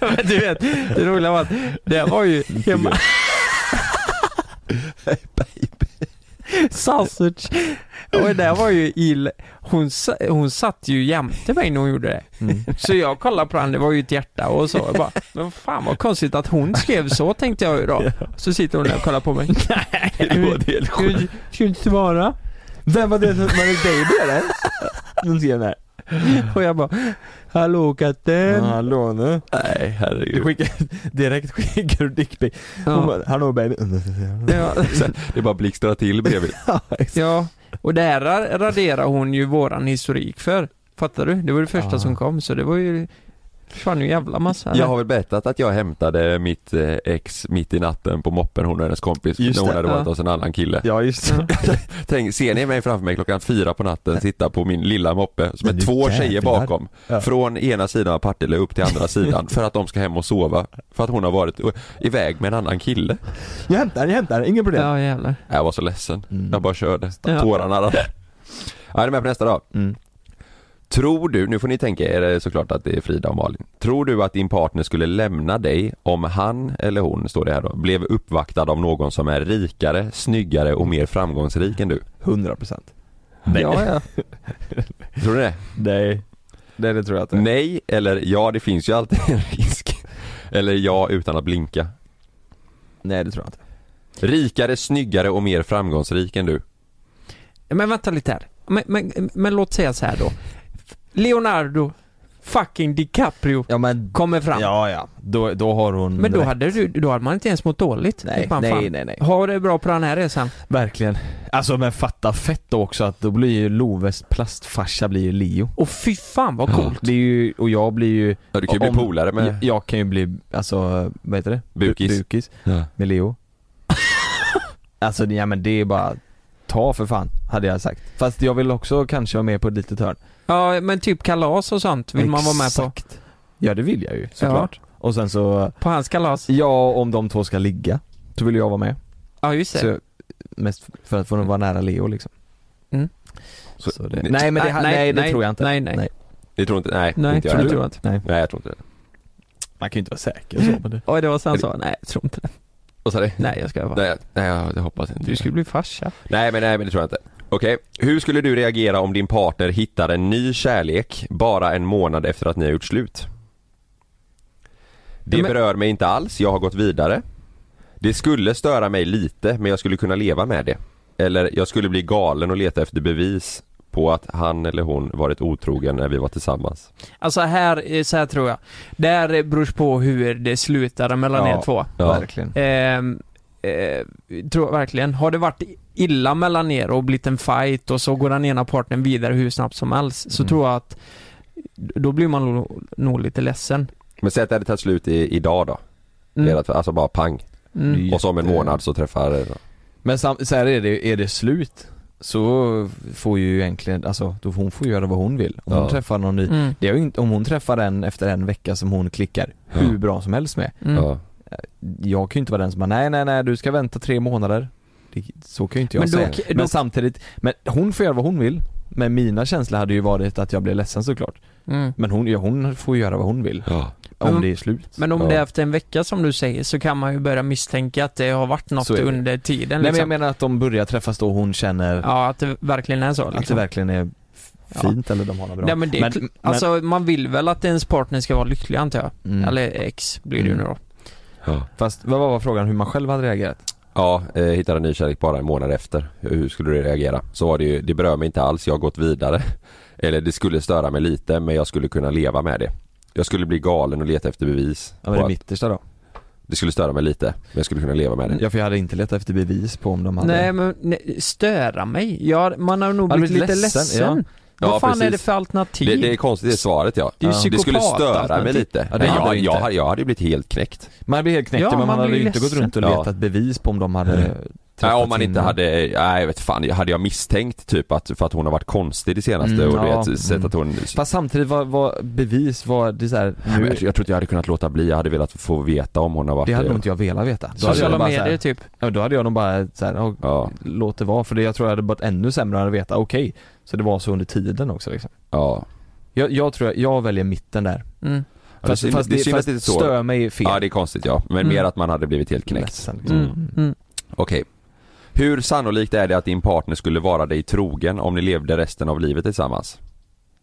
Speaker 3: Men du vet, det roliga var att det här var ju hemma. Sausage. Och det här var ju ill. Hon, sa- hon satt ju jämte mig när hon gjorde det.
Speaker 1: Mm.
Speaker 3: Så jag kollade på henne, det var ju ett hjärta och så. Jag bara, men fan vad konstigt att hon skrev så tänkte jag ju då. Så sitter hon där och kollar på mig. Nej, Ska du- ska du inte svara?
Speaker 1: Vem var det som var baby eller? Någon senare?
Speaker 3: Och jag bara, hallå katten.
Speaker 1: Hallå nu?
Speaker 2: Nej
Speaker 1: Du
Speaker 2: herregud.
Speaker 1: skickar, direkt skickar du dickpic. Hon
Speaker 3: Ja.
Speaker 1: bara, hallå baby.
Speaker 3: Ja.
Speaker 2: Det bara blixtrar till bredvid.
Speaker 3: Ja, och det här ra- raderar hon ju våran historik för. Fattar du? Det var det första
Speaker 1: Ja.
Speaker 3: som kom, så det var ju... Försvann ju en jävla massa.
Speaker 2: Jag har väl berättat att jag hämtade mitt eh, ex mitt i natten på moppen, hon och hennes kompis,
Speaker 1: Just
Speaker 2: när hon
Speaker 1: det,
Speaker 2: hade varit
Speaker 3: ja.
Speaker 2: hos en annan kille.
Speaker 1: Ja just det.
Speaker 2: Tänk, ser ni mig framför mig klockan fyra på natten sitta på min lilla moppe som är
Speaker 1: Men du
Speaker 2: två tjejer
Speaker 1: jävlar.
Speaker 2: bakom.
Speaker 1: Ja.
Speaker 2: Från ena sidan av Partille upp till andra sidan för att de ska hem och sova. För att hon har varit eh, iväg med en annan kille.
Speaker 1: Jag hämtar, jag hämtar, inga problem.
Speaker 3: Ja, jävlar.
Speaker 2: Jag var så ledsen.
Speaker 1: Mm.
Speaker 2: Jag bara körde.
Speaker 3: Ja.
Speaker 2: Tårarna rann. Ja, är du med på nästa då?
Speaker 1: Mm.
Speaker 2: Tror du, nu får ni tänka er eh, såklart att det är Frida och Malin. Tror du att din partner skulle lämna dig om han eller hon, står det här då, blev uppvaktad av någon som är rikare, snyggare och mer framgångsrik än du?
Speaker 1: 100%.
Speaker 3: Ja, ja.
Speaker 2: Tror du det?
Speaker 1: Nej. Nej det tror jag inte.
Speaker 2: Nej eller ja, det finns ju alltid en risk. Eller ja utan att blinka.
Speaker 1: Nej det tror jag inte.
Speaker 2: Rikare, snyggare och mer framgångsrik än du.
Speaker 3: Men vänta lite här. Men, men, men låt säga så här då. Leonardo fucking DiCaprio
Speaker 1: Ja men
Speaker 3: kommer fram.
Speaker 1: Ja ja, då, då har hon
Speaker 3: men då
Speaker 1: rätt.
Speaker 3: hade, du, då hade man inte ens mått dåligt.
Speaker 1: Nej,
Speaker 3: Typ, man,
Speaker 1: nej,
Speaker 3: fan,
Speaker 1: nej, nej.
Speaker 3: Ha det bra på den här resan.
Speaker 1: Verkligen. Alltså men fatta fett då också att då blir ju Loves plastfarsa blir ju Leo.
Speaker 3: Och fy fan vad coolt.
Speaker 1: Det är ju, och jag blir ju
Speaker 2: Ja, du kan ju bli
Speaker 1: Om-
Speaker 2: polare med...
Speaker 1: jag, jag kan ju bli, alltså vad heter det? Bu-
Speaker 2: Bukis.
Speaker 1: Bukis
Speaker 2: Ja.
Speaker 1: med Leo. alltså ja men det är bara Ta för fan, hade jag sagt. Fast jag vill också kanske vara med på ett litet hörn.
Speaker 3: Ja, men typ kalas och sånt vill man vara med på.
Speaker 1: Exakt. Ja det vill jag ju såklart. Och sen så,
Speaker 3: På hans kalas?
Speaker 1: ja om de två ska ligga, så vill jag vara med.
Speaker 3: Ja just det.
Speaker 1: Så, mest för att få vara nära Leo liksom.
Speaker 3: Mm.
Speaker 2: Så-
Speaker 1: Så det, nej men det, nej, det tror jag inte.
Speaker 3: Nej nej.
Speaker 1: Nej.
Speaker 3: Nej,
Speaker 2: Ni tror inte, nej, inte jag
Speaker 3: tror,
Speaker 2: heller.
Speaker 3: jag inte.
Speaker 2: Nej jag tror inte det.
Speaker 1: Man kan ju inte vara säker så på det.
Speaker 3: Oj det var sen så, nej jag tror inte det.
Speaker 2: Vad sa du?
Speaker 3: Nej jag ska vara.
Speaker 2: Nej, nej jag, jag hoppas inte
Speaker 3: Du skulle bli farsa.
Speaker 2: Nej men nej men det tror jag inte. Okej, hur skulle du reagera om din partner hittar en ny kärlek bara en månad efter att ni har gjort slut? Det
Speaker 3: Men-
Speaker 2: berör mig inte alls, jag har gått vidare. Det skulle störa mig lite men jag skulle kunna leva med det. Eller jag skulle bli galen och leta efter bevis på att han eller hon varit otrogen när vi var tillsammans.
Speaker 3: Alltså här, eh, så här tror jag. Det här beror på hur det slutade mellan
Speaker 1: Ja. Mm.
Speaker 3: er två.
Speaker 2: Ja.
Speaker 1: Verkligen.
Speaker 3: Ehm, eh, tror jag verkligen. Har det varit illa mellan er och blivit en fight och så går den ena parten vidare hur snabbt som helst så
Speaker 1: Mm.
Speaker 3: tror jag att då blir man nog, nog lite ledsen.
Speaker 2: Men säg att det hade tagit slut i, idag då.
Speaker 3: Mm.
Speaker 2: Ert- Alltså bara pang.
Speaker 3: Mm.
Speaker 2: Och så om en
Speaker 1: Jätte-
Speaker 2: månad så träffar...
Speaker 1: Men sam- så här är det, är det slut så får ju egentligen, alltså då får hon får göra vad hon vill. Om
Speaker 2: Ja.
Speaker 1: hon träffar någon ny,
Speaker 3: Mm.
Speaker 1: det är ju inte, om hon träffar en efter en vecka som hon klickar hur
Speaker 2: Ja.
Speaker 1: bra som helst med.
Speaker 3: Mm.
Speaker 2: Ja.
Speaker 1: Jag kan ju inte vara den som bara nej nej nej du ska vänta tre månader. Det, så kan ju inte jag
Speaker 3: Men då-
Speaker 1: säga.
Speaker 3: då-
Speaker 1: men samtidigt, men hon får göra vad hon vill. Men mina känslor hade ju varit att jag blev ledsen såklart.
Speaker 3: Mm.
Speaker 1: Men hon, ja, hon får göra vad hon vill.
Speaker 2: Ja.
Speaker 1: Om
Speaker 3: Men-
Speaker 1: det är slut.
Speaker 3: Mm. Men om
Speaker 2: Ja.
Speaker 3: det är efter en vecka som du säger så kan man ju börja misstänka att det har varit något
Speaker 1: Så är det.
Speaker 3: under tiden
Speaker 1: Nej men jag
Speaker 3: liksom.
Speaker 1: menar att de börjar träffas då hon känner
Speaker 3: Ja, att det verkligen är så
Speaker 1: att det
Speaker 3: liksom.
Speaker 1: verkligen är
Speaker 3: Ja.
Speaker 1: fint eller de har något bra.
Speaker 3: Nej, men det, är
Speaker 1: Men-
Speaker 3: kl-
Speaker 1: men-
Speaker 3: alltså man vill väl att ens partner ska vara lycklig antar jag.
Speaker 1: Mm.
Speaker 3: Eller ex blir det ju nu
Speaker 1: Mm.
Speaker 3: då.
Speaker 2: Ja.
Speaker 1: Fast vad var vad frågan hur man själv hade reagerat?
Speaker 2: Ja, eh, hittade en ny kärlek bara en månad efter. Hur hur skulle du reagera? Så var det ju, det berör mig inte alls, jag har gått vidare. Eller det skulle störa mig lite men jag skulle kunna leva med det. Jag skulle bli galen och leta efter bevis.
Speaker 1: Ja, men
Speaker 2: på
Speaker 1: det
Speaker 2: att
Speaker 1: mittersta då?
Speaker 2: det skulle störa mig lite men jag skulle kunna leva med det.
Speaker 1: Ja för jag hade inte letat efter bevis på om de hade
Speaker 3: Nej men nej, störa mig. Ja, man har nog
Speaker 1: Har du
Speaker 3: blivit lite
Speaker 1: blivit
Speaker 3: ledsen.
Speaker 1: ledsen?
Speaker 2: Ja. Ja,
Speaker 3: Vad fan
Speaker 2: precis.
Speaker 3: är det för alternativ?
Speaker 2: Det, det är konstigt, det är svaret ja.
Speaker 3: Det är ju
Speaker 2: Det skulle störa mig
Speaker 3: psykopatalternativ.
Speaker 2: lite.
Speaker 1: Ja, det
Speaker 2: Nej,
Speaker 1: hade
Speaker 2: jag,
Speaker 1: du inte.
Speaker 2: jag, hade- jag hade ju blivit helt knäckt.
Speaker 1: Man blir helt knäckt
Speaker 3: Ja,
Speaker 1: men man,
Speaker 3: man
Speaker 1: hade
Speaker 3: blir
Speaker 1: ju inte gått
Speaker 3: ledsen.
Speaker 1: runt och
Speaker 2: Ja.
Speaker 1: letat bevis på om de hade
Speaker 2: Nej,
Speaker 1: träffats
Speaker 2: om man inte
Speaker 1: innan.
Speaker 2: hade, nej jag vet fan, hade jag misstänkt typ att, för att hon har varit konstig det senaste
Speaker 1: Mm,
Speaker 2: och du
Speaker 1: ja,
Speaker 2: vet, sett
Speaker 1: mm.
Speaker 2: att hon
Speaker 1: Fast samtidigt var, var bevis var det så här,
Speaker 2: Men
Speaker 1: nu,
Speaker 2: jag, jag tror inte jag hade kunnat låta bli, jag hade velat få veta om hon har varit
Speaker 1: det hade nog inte jag velat veta. Då hade jag nog
Speaker 3: Sociala
Speaker 1: bara så
Speaker 3: medier
Speaker 1: här,
Speaker 3: typ.
Speaker 1: ja, då hade jag nog bara så här, ja,
Speaker 2: Ja,
Speaker 1: låt det vara för det, jag tror jag hade varit ännu sämre att veta, okej. Så det var så under tiden också liksom.
Speaker 2: ja.
Speaker 1: Jag, jag tror, jag väljer mitten där.
Speaker 3: Mm.
Speaker 2: Ja, det är
Speaker 1: Fast,
Speaker 2: synd-
Speaker 1: fast
Speaker 2: det är
Speaker 1: det,
Speaker 2: synd att
Speaker 1: fast
Speaker 2: det är så.
Speaker 1: stör mig fel.
Speaker 2: Ja det är konstigt ja, men
Speaker 3: Mm.
Speaker 2: mer att man hade blivit helt knäckt.
Speaker 1: Ledsen, liksom.
Speaker 3: Mm.
Speaker 2: Mm.
Speaker 3: Mm.
Speaker 2: Okej. Hur sannolikt är det att din partner skulle vara dig trogen om ni levde resten av livet tillsammans?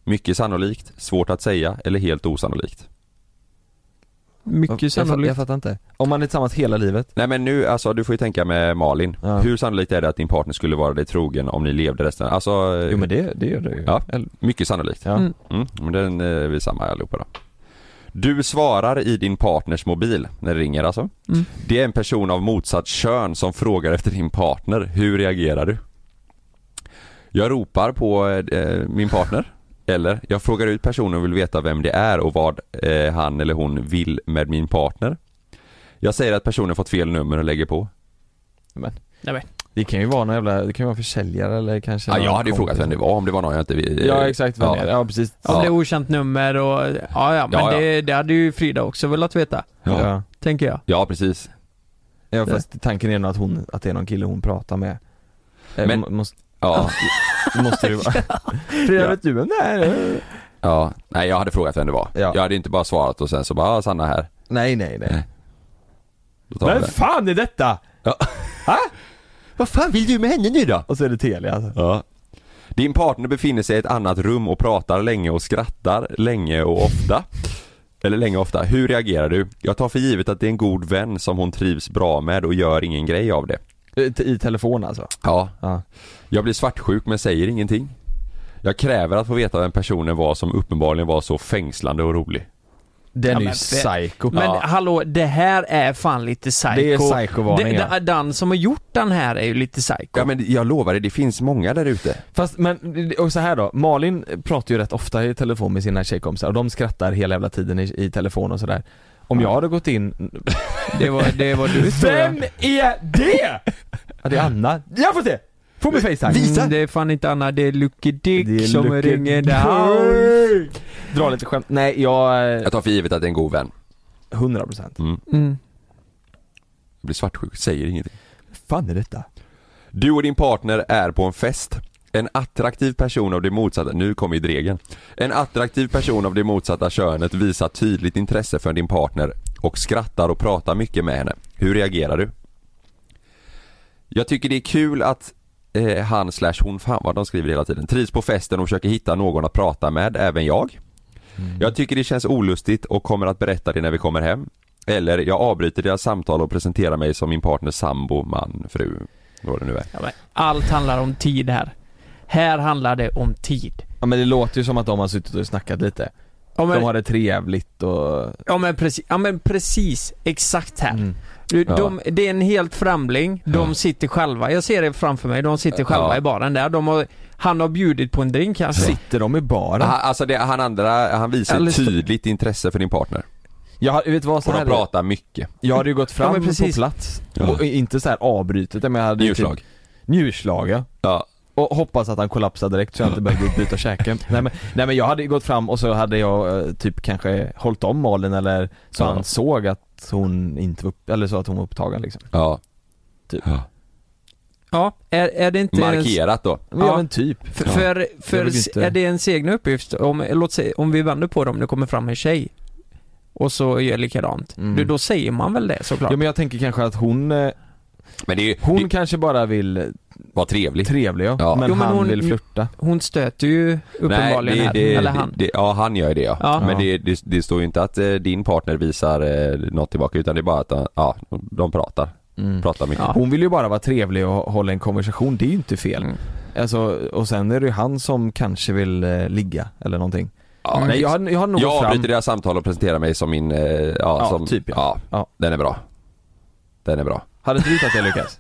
Speaker 2: Mycket sannolikt, svårt att säga eller helt osannolikt?
Speaker 1: Jag
Speaker 3: Mycket
Speaker 1: fatt-
Speaker 3: sannolikt.
Speaker 1: Jag fattar inte. Om man är tillsammans hela livet.
Speaker 2: Nej men nu, alltså du får ju tänka med Malin.
Speaker 1: Ja.
Speaker 2: Hur sannolikt är det att din partner skulle vara dig trogen om ni levde resten, alltså
Speaker 1: Jo men det, det gör det ju.
Speaker 2: Ja.
Speaker 1: Eller,
Speaker 2: mycket sannolikt.
Speaker 1: ja.
Speaker 3: Mm.
Speaker 2: Mm, men den eh, är vi samma allihopa då. Du svarar i din partners mobil när det ringer alltså.
Speaker 3: Mm.
Speaker 2: Det är en person av motsatt kön som frågar efter din partner. Hur reagerar du? Jag ropar på eh, min partner. Eller, jag frågar ut personen och vill veta vem det är och vad eh, han eller hon vill med min partner. Jag säger att personen fått fel nummer och lägger på.
Speaker 1: Det kan ju vara någon jävla, det kan ju vara försäljare eller kanske
Speaker 2: Ja,
Speaker 1: någon
Speaker 2: jag hade ju
Speaker 1: kompis.
Speaker 2: frågat vem det var om det var någon jag inte vill.
Speaker 1: Ja exakt vem
Speaker 2: Ja.
Speaker 1: det är. ja precis.
Speaker 3: Om
Speaker 2: Ja.
Speaker 3: det är okänt nummer och, ja ja, men
Speaker 2: Ja, ja.
Speaker 3: Det, det hade ju Frida också velat veta,
Speaker 2: Ja,
Speaker 1: Ja.
Speaker 3: tänker jag.
Speaker 2: ja precis.
Speaker 1: ja fast tanken är nog att hon, att det är någon kille hon pratar med. Eh,
Speaker 2: Men-
Speaker 1: må- måste,
Speaker 2: Ja,
Speaker 1: måste det vara. Frida
Speaker 2: Ja.
Speaker 1: vet du vem det är?
Speaker 2: ja. Nej jag hade frågat vem det var.
Speaker 1: Ja.
Speaker 2: Jag hade inte bara svarat och sen så bara, ah, Sanna här.
Speaker 1: Nej nej nej.
Speaker 2: Då tar vi
Speaker 1: Vem
Speaker 2: det.
Speaker 1: fan är detta?
Speaker 2: Vad fan vill du med henne nu då?
Speaker 1: Och så är det Telia alltså.
Speaker 2: Ja. Din partner befinner sig i ett annat rum och pratar länge och skrattar länge och ofta. Eller länge och ofta. Hur reagerar du? Jag tar för givet att det är en god vän som hon trivs bra med och gör ingen grej av det.
Speaker 1: Eh, t- I telefon alltså?
Speaker 2: Ja.
Speaker 1: Ja.
Speaker 2: Jag blir svartsjuk men säger ingenting. Jag kräver att få veta vem personen var som uppenbarligen var så fängslande och rolig.
Speaker 1: Den
Speaker 3: Ja,
Speaker 1: är ju
Speaker 3: men-
Speaker 1: psycho.
Speaker 3: Men hallå, det här är fan lite psycho.
Speaker 1: Det är psykovarning,
Speaker 3: Det- det-
Speaker 1: ja.
Speaker 3: Den som har gjort den här är ju lite psycho.
Speaker 2: Ja men jag lovar dig, det finns många där ute.
Speaker 1: Fast men, och så här då, Malin pratar ju rätt ofta i telefon med sina tjejkompisar och de skrattar hela jävla tiden i, i telefon och sådär Om jag hade gått in,
Speaker 3: Det, var, det var du tror jag.
Speaker 1: är det? Ja det är Anna, jag får se! På min facetime
Speaker 3: Mm, det är fan inte Anna, det är Lucky Dick
Speaker 1: Det är
Speaker 3: som
Speaker 1: Lucky
Speaker 3: ringer the
Speaker 1: Dick.
Speaker 3: house.
Speaker 1: dra lite skämt. Nej, jag... eh,
Speaker 2: Jag tar för givet att det är en god vän.
Speaker 1: 100%.
Speaker 2: Mm.
Speaker 3: Mm.
Speaker 2: Jag blir svartsjuk, säger ingenting.
Speaker 1: fan är detta?
Speaker 2: Du och din partner är på en fest. En attraktiv person av det motsatta, nu kommer ju dregen. En attraktiv person av det motsatta könet visar tydligt intresse för din partner och skrattar och pratar mycket med henne. Hur reagerar du? Jag tycker det är kul att eh, han slash hon, fan vad de skriver hela tiden, trivs på festen och försöker hitta någon att prata med, även jag. Jag tycker det känns olustigt och kommer att berätta det när vi kommer hem. Eller jag avbryter deras samtal och presenterar mig som min partners sambo, man, fru, vad det nu är.
Speaker 3: Ja, men allt handlar om tid här. Här handlar det om tid.
Speaker 1: Ja men det låter ju som att de har suttit och snackat lite.
Speaker 3: Ja men,
Speaker 1: De har det trevligt och...
Speaker 3: ja, men, precis, ja, men precis, exakt här.
Speaker 1: Mm.
Speaker 3: Du,
Speaker 2: Ja.
Speaker 3: de, det är en helt framling, de
Speaker 2: Ja.
Speaker 3: sitter själva, jag ser det framför mig, de sitter själva
Speaker 2: Ja.
Speaker 3: i baren där. De har, han har bjudit på en drink kanske.
Speaker 1: Sitter de i baren?
Speaker 2: Han, alltså det, han andra, han visar
Speaker 3: Eller-
Speaker 2: tydligt intresse för din partner.
Speaker 1: Jag har- vet du vad, så
Speaker 2: Och de
Speaker 1: här är det.
Speaker 2: pratar mycket.
Speaker 1: jag hade ju gått
Speaker 3: Ja,
Speaker 1: fram
Speaker 3: men
Speaker 1: på
Speaker 3: precis.
Speaker 1: plats.
Speaker 2: Ja.
Speaker 1: Och inte så här avbrutet, men jag hade ju
Speaker 2: Njurslag.
Speaker 1: Typ, njurslag ja.
Speaker 2: Ja.
Speaker 1: Och hoppas att han kollapsar direkt så jag inte behövde byta käken. Nej men, nej men jag hade ju gått fram och så hade jag eh, typ kanske hållit om Malin eller så
Speaker 2: Ja.
Speaker 1: han såg att hon inte var upp, eller så att hon var upptagen liksom.
Speaker 2: ja.
Speaker 1: Typ.
Speaker 2: Ja.
Speaker 3: Ja, är, är det inte...
Speaker 2: Markerat då.
Speaker 1: Men ja
Speaker 3: Ja.
Speaker 1: men typ.
Speaker 3: För,
Speaker 2: Ja.
Speaker 3: för,
Speaker 1: Jag
Speaker 3: för
Speaker 1: vill inte-
Speaker 3: är det ens egna uppgift? Om, låt säga, om vi vänder på det, om det kommer fram en tjej och så gör likadant.
Speaker 1: Mm.
Speaker 3: Du, då säger man väl det såklart?
Speaker 1: Ja men jag tänker kanske att hon, eh,
Speaker 2: Men det är ju,
Speaker 1: hon
Speaker 2: det
Speaker 1: kanske bara vill
Speaker 2: var trevligt.
Speaker 1: trevlig ja.
Speaker 2: Ja.
Speaker 1: Men,
Speaker 3: Jo, men
Speaker 1: han
Speaker 3: hon-
Speaker 1: vill flirta.
Speaker 3: Hon stöter ju uppenbarligen
Speaker 2: Nej,
Speaker 3: här, eller han.
Speaker 2: Det, ja, han gör ju det ja.
Speaker 3: Ja.
Speaker 2: Men
Speaker 1: Ja.
Speaker 2: det, det, det står ju inte att eh, din partner visar eh, något tillbaka utan det är bara att eh, ja, de pratar.
Speaker 1: Mm.
Speaker 2: Pratar mycket.
Speaker 3: Ja.
Speaker 1: Hon vill ju bara vara trevlig och hålla en konversation, det är ju inte fel.
Speaker 3: Mm.
Speaker 1: Alltså, och sen är det ju han som kanske vill eh, ligga eller någonting.
Speaker 2: Ja,
Speaker 1: Nej jag
Speaker 2: jag,
Speaker 1: har, jag har nog gått fram.
Speaker 2: avbryter deras samtal och presenterar mig som min, eh, ja,
Speaker 1: Ja,
Speaker 2: som,
Speaker 1: typ, ja.
Speaker 2: ja.
Speaker 1: Ja.
Speaker 2: Den är bra. Den är bra.
Speaker 1: Hade inte du tagit det Lukas?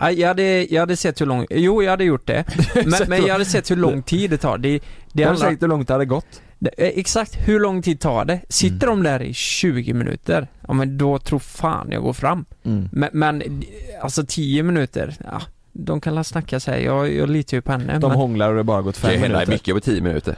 Speaker 3: Ja, Jag hade, jag hade sett hur lång, jo jag hade gjort det. Men, men jag hade sett hur lång tid det tar. Det, det
Speaker 1: Jag har
Speaker 3: handlar,
Speaker 1: sagt hur långt det hade gått.
Speaker 3: det- eh, exakt hur lång tid tar det? Sitter
Speaker 1: Mm.
Speaker 3: de där i 20 minuter? Ja men då tror fan jag går fram. Men, men alltså 10 minuter, ja, de kan la snacka sig. Jag, jag litar ju på henne.
Speaker 1: De
Speaker 3: men,
Speaker 1: hånglar och det har bara gått
Speaker 2: Det kan ju
Speaker 1: fem
Speaker 2: hända
Speaker 1: minuter.
Speaker 2: mycket på 10 minuter.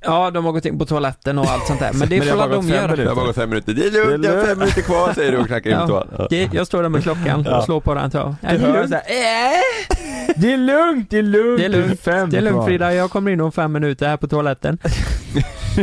Speaker 3: ja, de har gått in på toaletten och allt sånt där. Men det
Speaker 1: Men det har
Speaker 3: får väl
Speaker 1: bara
Speaker 3: de
Speaker 1: gått fem
Speaker 3: göra.
Speaker 1: minuter.
Speaker 2: Det har bara gått fem minuter. Det är lugnt, jag har fem minuter kvar säger du och knackar in på toan. Ja.
Speaker 3: Okej, Jag står där med klockan och slår på den. Ja, det, är lugnt.
Speaker 1: såhär, "Äh?" Det är lugnt, det är lugnt,
Speaker 3: Det är lugnt,
Speaker 1: fem
Speaker 3: det är lugnt
Speaker 1: kvar."
Speaker 3: Frida, jag kommer in om fem minuter här på toaletten.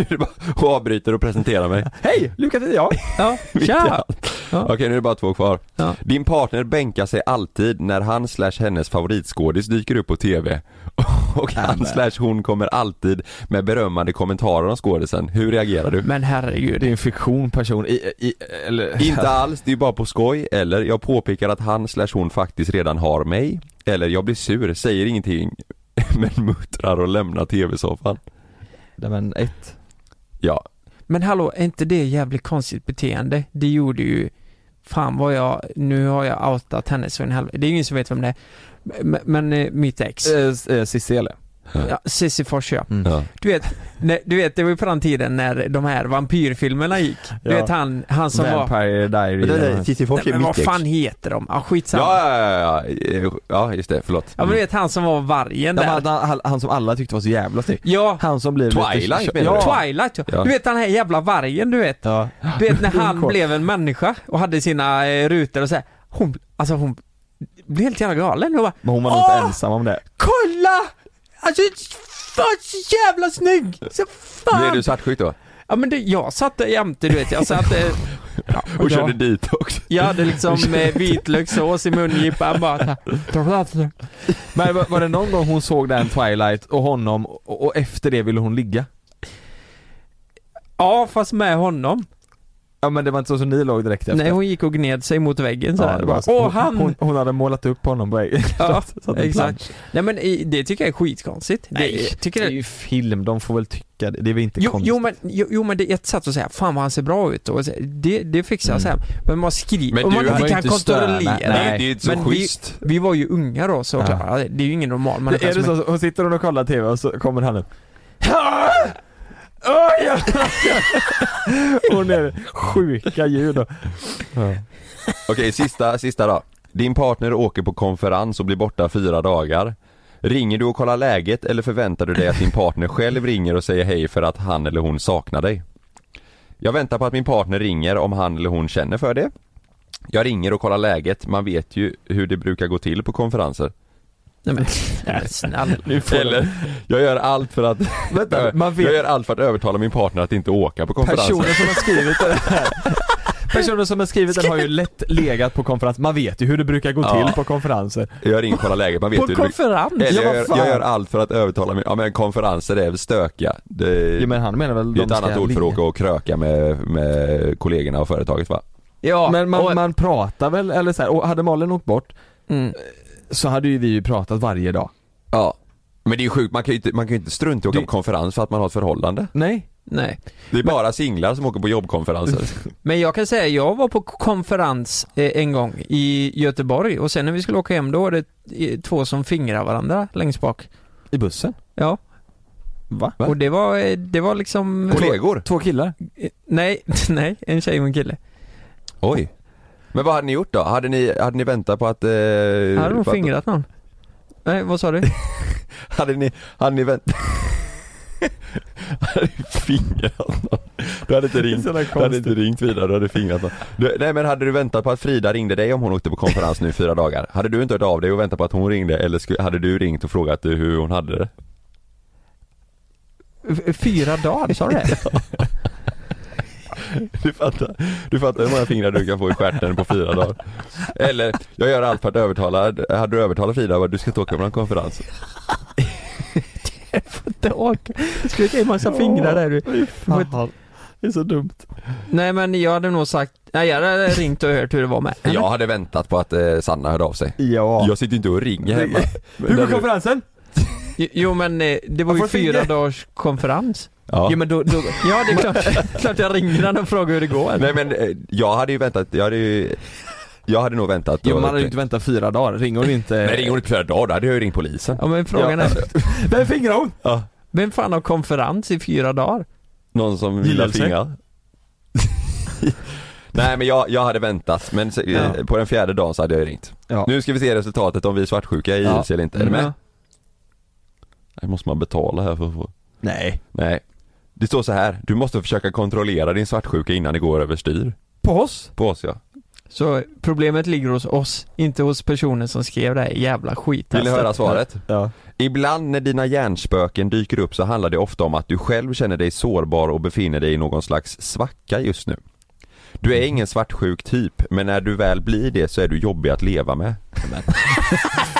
Speaker 2: Du bara- och avbryter och presenterar mig.
Speaker 1: Hej, Lukas heter jag.
Speaker 3: Ja,
Speaker 2: Mitt i
Speaker 3: tja!
Speaker 2: allt.
Speaker 3: Ja.
Speaker 2: Okej, nu är det bara två kvar.
Speaker 3: Ja.
Speaker 2: Din partner bänkar sig alltid när han slash hennes favoritskådis dyker upp på TV. Och han slash hon kommer alltid med berömmande kommentarer om skådisen. Hur reagerar du?
Speaker 3: Men herregud.
Speaker 1: Det är en fiktion person, I, i, eller...
Speaker 2: Inte alls, det är ju bara på skoj. Eller jag påpekar att han slash hon faktiskt redan har mig. Eller jag blir sur, säger ingenting men muttrar och lämnar TV-soffan.
Speaker 1: Nej men ett.
Speaker 2: Ja,
Speaker 3: Men hallå, är inte det jävligt konstigt beteende? Det gjorde ju, fan vad jag, nu har jag outat henne så en halv, det är ju ingen som vet vem det är. Men, men eh, mitt ex,
Speaker 1: Eh, s- eh, Cissi eller?
Speaker 3: ja, Cissi Fors ja.
Speaker 2: ja.
Speaker 3: Du vet, när, du vet, det var ju på den tiden när de här vampyrfilmerna gick. Du
Speaker 1: Ja.
Speaker 3: vet han, han som var,
Speaker 1: Vampire Diary. eller-
Speaker 2: Cissi Fors
Speaker 3: nej, men vad fan heter de? Ja,
Speaker 2: Ja,
Speaker 3: skitsamma. Ja,
Speaker 2: ja, ja, ja, ja, just det, förlåt.
Speaker 3: men du vet han som var vargen
Speaker 1: Ja,
Speaker 3: där.
Speaker 1: men han, han, han som alla tyckte var så jävla snygg.
Speaker 3: Ja,
Speaker 1: Han som blev
Speaker 2: Twilight menar
Speaker 1: ja.
Speaker 2: du?
Speaker 3: Twilight ja.
Speaker 2: Ja.
Speaker 3: Du vet den här jävla vargen du vet.
Speaker 1: Ja.
Speaker 3: Du vet när han
Speaker 1: Brunkort.
Speaker 3: blev en människa och hade sina eh, rutor och så här. Hon, alltså hon blev helt jävla galen och bara
Speaker 1: Men hon var nog inte
Speaker 3: Åh!
Speaker 1: ensam om det.
Speaker 3: Kolla! Alltså fan så jävla snygg! Så fan!
Speaker 2: Blev du svartsjuk då?
Speaker 3: Ja men det, jag satt där jämte du vet, jag satt eh, ja,
Speaker 2: Och
Speaker 3: jag-
Speaker 2: körde detox?
Speaker 3: Jag hade liksom eh, vitlökssås i mungipan bara så här.
Speaker 1: Men var, var det någon gång hon såg den Twilight och honom och, och efter det ville hon ligga?
Speaker 3: Ja fast med honom.
Speaker 1: Ja men det var inte så som ni låg direkt efter?
Speaker 3: Nej hon gick och gned sig mot väggen så
Speaker 1: ja,
Speaker 3: här.
Speaker 1: det var,
Speaker 3: Åh
Speaker 1: hon,
Speaker 3: han!
Speaker 1: Hon, hon hade målat upp honom på väggen.
Speaker 3: ja,
Speaker 1: så att det
Speaker 3: exakt. Nej men i- det tycker jag är skitkonstigt.
Speaker 1: Nej,
Speaker 3: det, tycker
Speaker 1: Det är
Speaker 3: jag,
Speaker 1: ju film, de får väl tycka det, det är väl inte
Speaker 3: Jo,
Speaker 1: konstigt?
Speaker 3: jo, men, jo, jo men det är ett sätt att säga, fan vad han ser bra ut och så- det, det fixar jag
Speaker 1: Mm.
Speaker 3: sen. Men man skriver,
Speaker 2: Men
Speaker 3: om
Speaker 2: du
Speaker 3: man
Speaker 2: har
Speaker 3: inte
Speaker 1: ju
Speaker 3: kan
Speaker 1: inte
Speaker 3: kontrollera.
Speaker 1: stöna. Nej.
Speaker 2: det är ju inte så
Speaker 3: Men vi-
Speaker 2: schysst.
Speaker 3: Vi var ju unga då såklart, Ja, det är ju ingen normal man
Speaker 1: det är det
Speaker 3: som-
Speaker 1: så, hon sitter och kollar TV och så kommer han upp Hon är sjuka ljud och... ja.
Speaker 2: Okej, sista, sista då. Din partner åker på konferens och blir borta fyra dagar. Ringer du och kollar läget eller förväntar du dig att din partner själv ringer och säger hej för att han eller hon saknar dig? Jag väntar på att min partner ringer om han eller hon känner för det. Jag ringer och kollar läget, man vet ju hur det brukar gå till på konferenser.
Speaker 3: Nej men, nej, men snälla.
Speaker 2: Eller, jag gör allt för att
Speaker 1: Vänta, man
Speaker 2: Jag
Speaker 1: vet
Speaker 2: gör allt för att övertala min partner att inte åka på konferensen.
Speaker 1: personer som har skrivit det här Personer som har skrivit den har ju lätt legat på konferens, man vet ju hur det brukar gå
Speaker 2: Ja.
Speaker 1: till på konferenser
Speaker 2: Jag ringer och kollar läget, man vet
Speaker 3: På
Speaker 2: hur det brukar-
Speaker 3: konferens?
Speaker 2: Eller jag, gör,
Speaker 3: vad fan.
Speaker 2: jag gör allt för att övertala min, ja men konferenser är väl stökiga. Det,
Speaker 1: Ja men han menar väl
Speaker 2: det är
Speaker 1: de
Speaker 2: ett
Speaker 1: ska
Speaker 2: annat ord för
Speaker 1: ligga.
Speaker 2: att åka och kröka med, med kollegorna och företaget va?
Speaker 3: Ja,
Speaker 1: Men man,
Speaker 3: och-
Speaker 1: man pratar väl, eller så här, och hade Malin åkt bort eh,
Speaker 3: mm.
Speaker 1: så hade ju vi ju pratat varje dag
Speaker 2: Ja. Men det är ju sjukt, man kan ju inte, man kan ju inte strunta i att åka
Speaker 1: Det-
Speaker 2: på konferens för att man har ett förhållande.
Speaker 1: Nej?
Speaker 3: Nej.
Speaker 2: Det är bara singlar som åker på jobbkonferenser.
Speaker 3: Men jag kan säga, jag var på konferens eh, en gång i Göteborg och sen när vi skulle åka hem då var det eh, två som fingrade varandra längst bak.
Speaker 1: I bussen?
Speaker 3: Ja,
Speaker 1: Va?
Speaker 3: och det var, eh, det var liksom...
Speaker 2: Kollegor?
Speaker 1: Två killar?
Speaker 3: Eh, Nej, nej, en tjej och en kille.
Speaker 2: Oj. Men vad hade ni gjort då? Hade ni, hade ni väntat på att... Eh,
Speaker 3: Hade de
Speaker 2: för att-
Speaker 3: fingrat någon? Nej, vad sa du?
Speaker 2: Hade ni, hade ni väntat... hade ni fingrat någon? Du hade inte ringt,
Speaker 1: Sådana
Speaker 2: du hade inte
Speaker 1: konstigt.
Speaker 2: ringt vidare, du hade fingrat någon. Du, nej men hade du väntat på att Frida ringde dig om hon åkte på konferens nu i fyra dagar? Hade du inte hört av dig och väntat på att hon ringde eller sku, hade du ringt och frågat hur hon hade det?
Speaker 3: F- Fyra dagar, sa du det?
Speaker 2: Du fattar, du fattar hur många fingrar du kan få i stjärten på fyra dagar. Eller, jag gör allt för att övertala, hade du övertalat Frida att du ska inte åka på någon konferens?
Speaker 3: Dag. Skulle jag ge en massa fingrar där du.
Speaker 1: Fan, Det är så dumt
Speaker 3: Nej men jag hade nog sagt, nej jag hade ringt och hört hur det var med.
Speaker 2: Jag hade väntat på att eh, Sanna hörde av sig.
Speaker 1: Ja
Speaker 2: Jag sitter ju inte och ringer hemma.
Speaker 1: Hur går konferensen?
Speaker 3: Jo men eh, det var
Speaker 1: Jag får
Speaker 3: ju
Speaker 1: finger.
Speaker 3: fyra dagars konferens.
Speaker 2: Ja.
Speaker 1: Ja men då, då
Speaker 3: Ja det är klart, klart jag ringer den och frågar hur det går.
Speaker 2: Nej men eh, jag hade ju väntat, jag hade ju Jag hade nog väntat
Speaker 1: jo, man hade ju inte väntat fyra dagar, ringer hon inte
Speaker 2: Nej ringer hon inte flera dagar, då hade jag ju ringt polisen
Speaker 3: Ja men frågan är,
Speaker 1: Vem fingrar hon?
Speaker 2: ja.
Speaker 3: vem fan har konferens i fyra dagar?
Speaker 2: Någon som
Speaker 1: Gillar
Speaker 2: vill
Speaker 1: sig.
Speaker 2: fingra Nej men jag, jag hade väntat, men se-
Speaker 1: Ja.
Speaker 2: eh, på den fjärde dagen så hade jag ju ringt
Speaker 1: Ja.
Speaker 2: Nu ska vi se resultatet om vi är svartsjuka i
Speaker 1: Ja. Mm.
Speaker 2: JLC eller inte, är du med?
Speaker 3: Ja.
Speaker 2: Det måste man betala här för att få
Speaker 1: Nej
Speaker 2: Nej Det står så här, du måste försöka kontrollera din svartsjuka innan det går överstyr
Speaker 1: På oss?
Speaker 2: På oss ja
Speaker 3: Så problemet ligger hos oss, inte hos personen som skrev det här jävla skittestet.
Speaker 2: Vill ni höra svaret?
Speaker 1: Ja
Speaker 2: Ibland när dina hjärnspöken dyker upp så handlar det ofta om att du själv känner dig sårbar och befinner dig i någon slags svacka just nu. Du är ingen svartsjuk typ, men när du väl blir det så är du jobbig att leva med.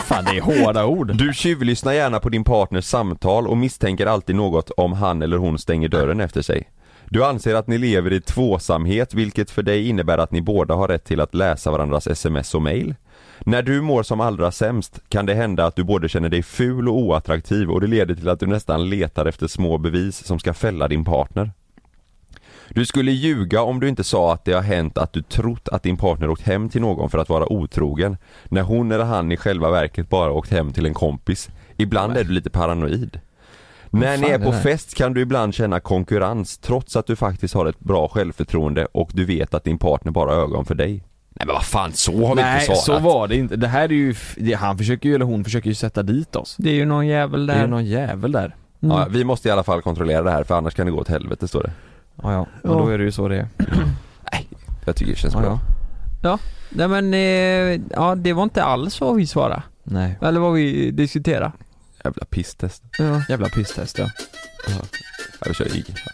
Speaker 1: Fan det är hårda ord
Speaker 2: Du tjuvlyssnar gärna på din partners samtal och misstänker alltid något om han eller hon stänger dörren efter sig. Du anser att ni lever i tvåsamhet vilket för dig innebär att ni båda har rätt till att läsa varandras sms och mail. När du mår som allra sämst kan det hända att du både känner dig ful och oattraktiv och det leder till att du nästan letar efter små bevis som ska fälla din partner. Du skulle ljuga om du inte sa att det har hänt att du trott att din partner åkt hem till någon för att vara otrogen. När hon eller han i själva verket bara åkt hem till en kompis. Ibland är du lite paranoid. När ni
Speaker 1: fan
Speaker 2: är
Speaker 1: är
Speaker 2: på
Speaker 1: det här?
Speaker 2: fest kan du ibland känna konkurrens trots att du faktiskt har ett bra självförtroende och du vet att din partner bara har ögon för dig. Nej men vad fan, så har vi
Speaker 1: Nej
Speaker 2: inte svarat.
Speaker 1: så var det inte, det här är ju, f- det, han försöker ju, eller hon försöker ju sätta dit oss
Speaker 3: Det är ju någon jävel
Speaker 1: Det är
Speaker 3: där.
Speaker 1: ju någon jävel där
Speaker 3: Mm.
Speaker 2: Ja, vi måste i alla fall kontrollera det här för annars kan det gå åt helvete står det.
Speaker 1: Ja ja,
Speaker 3: Ja.
Speaker 1: och då är det ju så det är
Speaker 2: Jag tycker det känns
Speaker 1: ja,
Speaker 2: bra.
Speaker 1: ja.
Speaker 3: Nej men, eh, ja det var inte alls vad vi svarade.
Speaker 1: Nej
Speaker 3: Eller vad vi diskuterade.
Speaker 2: Jävla pisstest.
Speaker 3: Ja.
Speaker 1: Jävla pisstest ja
Speaker 2: Ja, vi kör IG. Ja.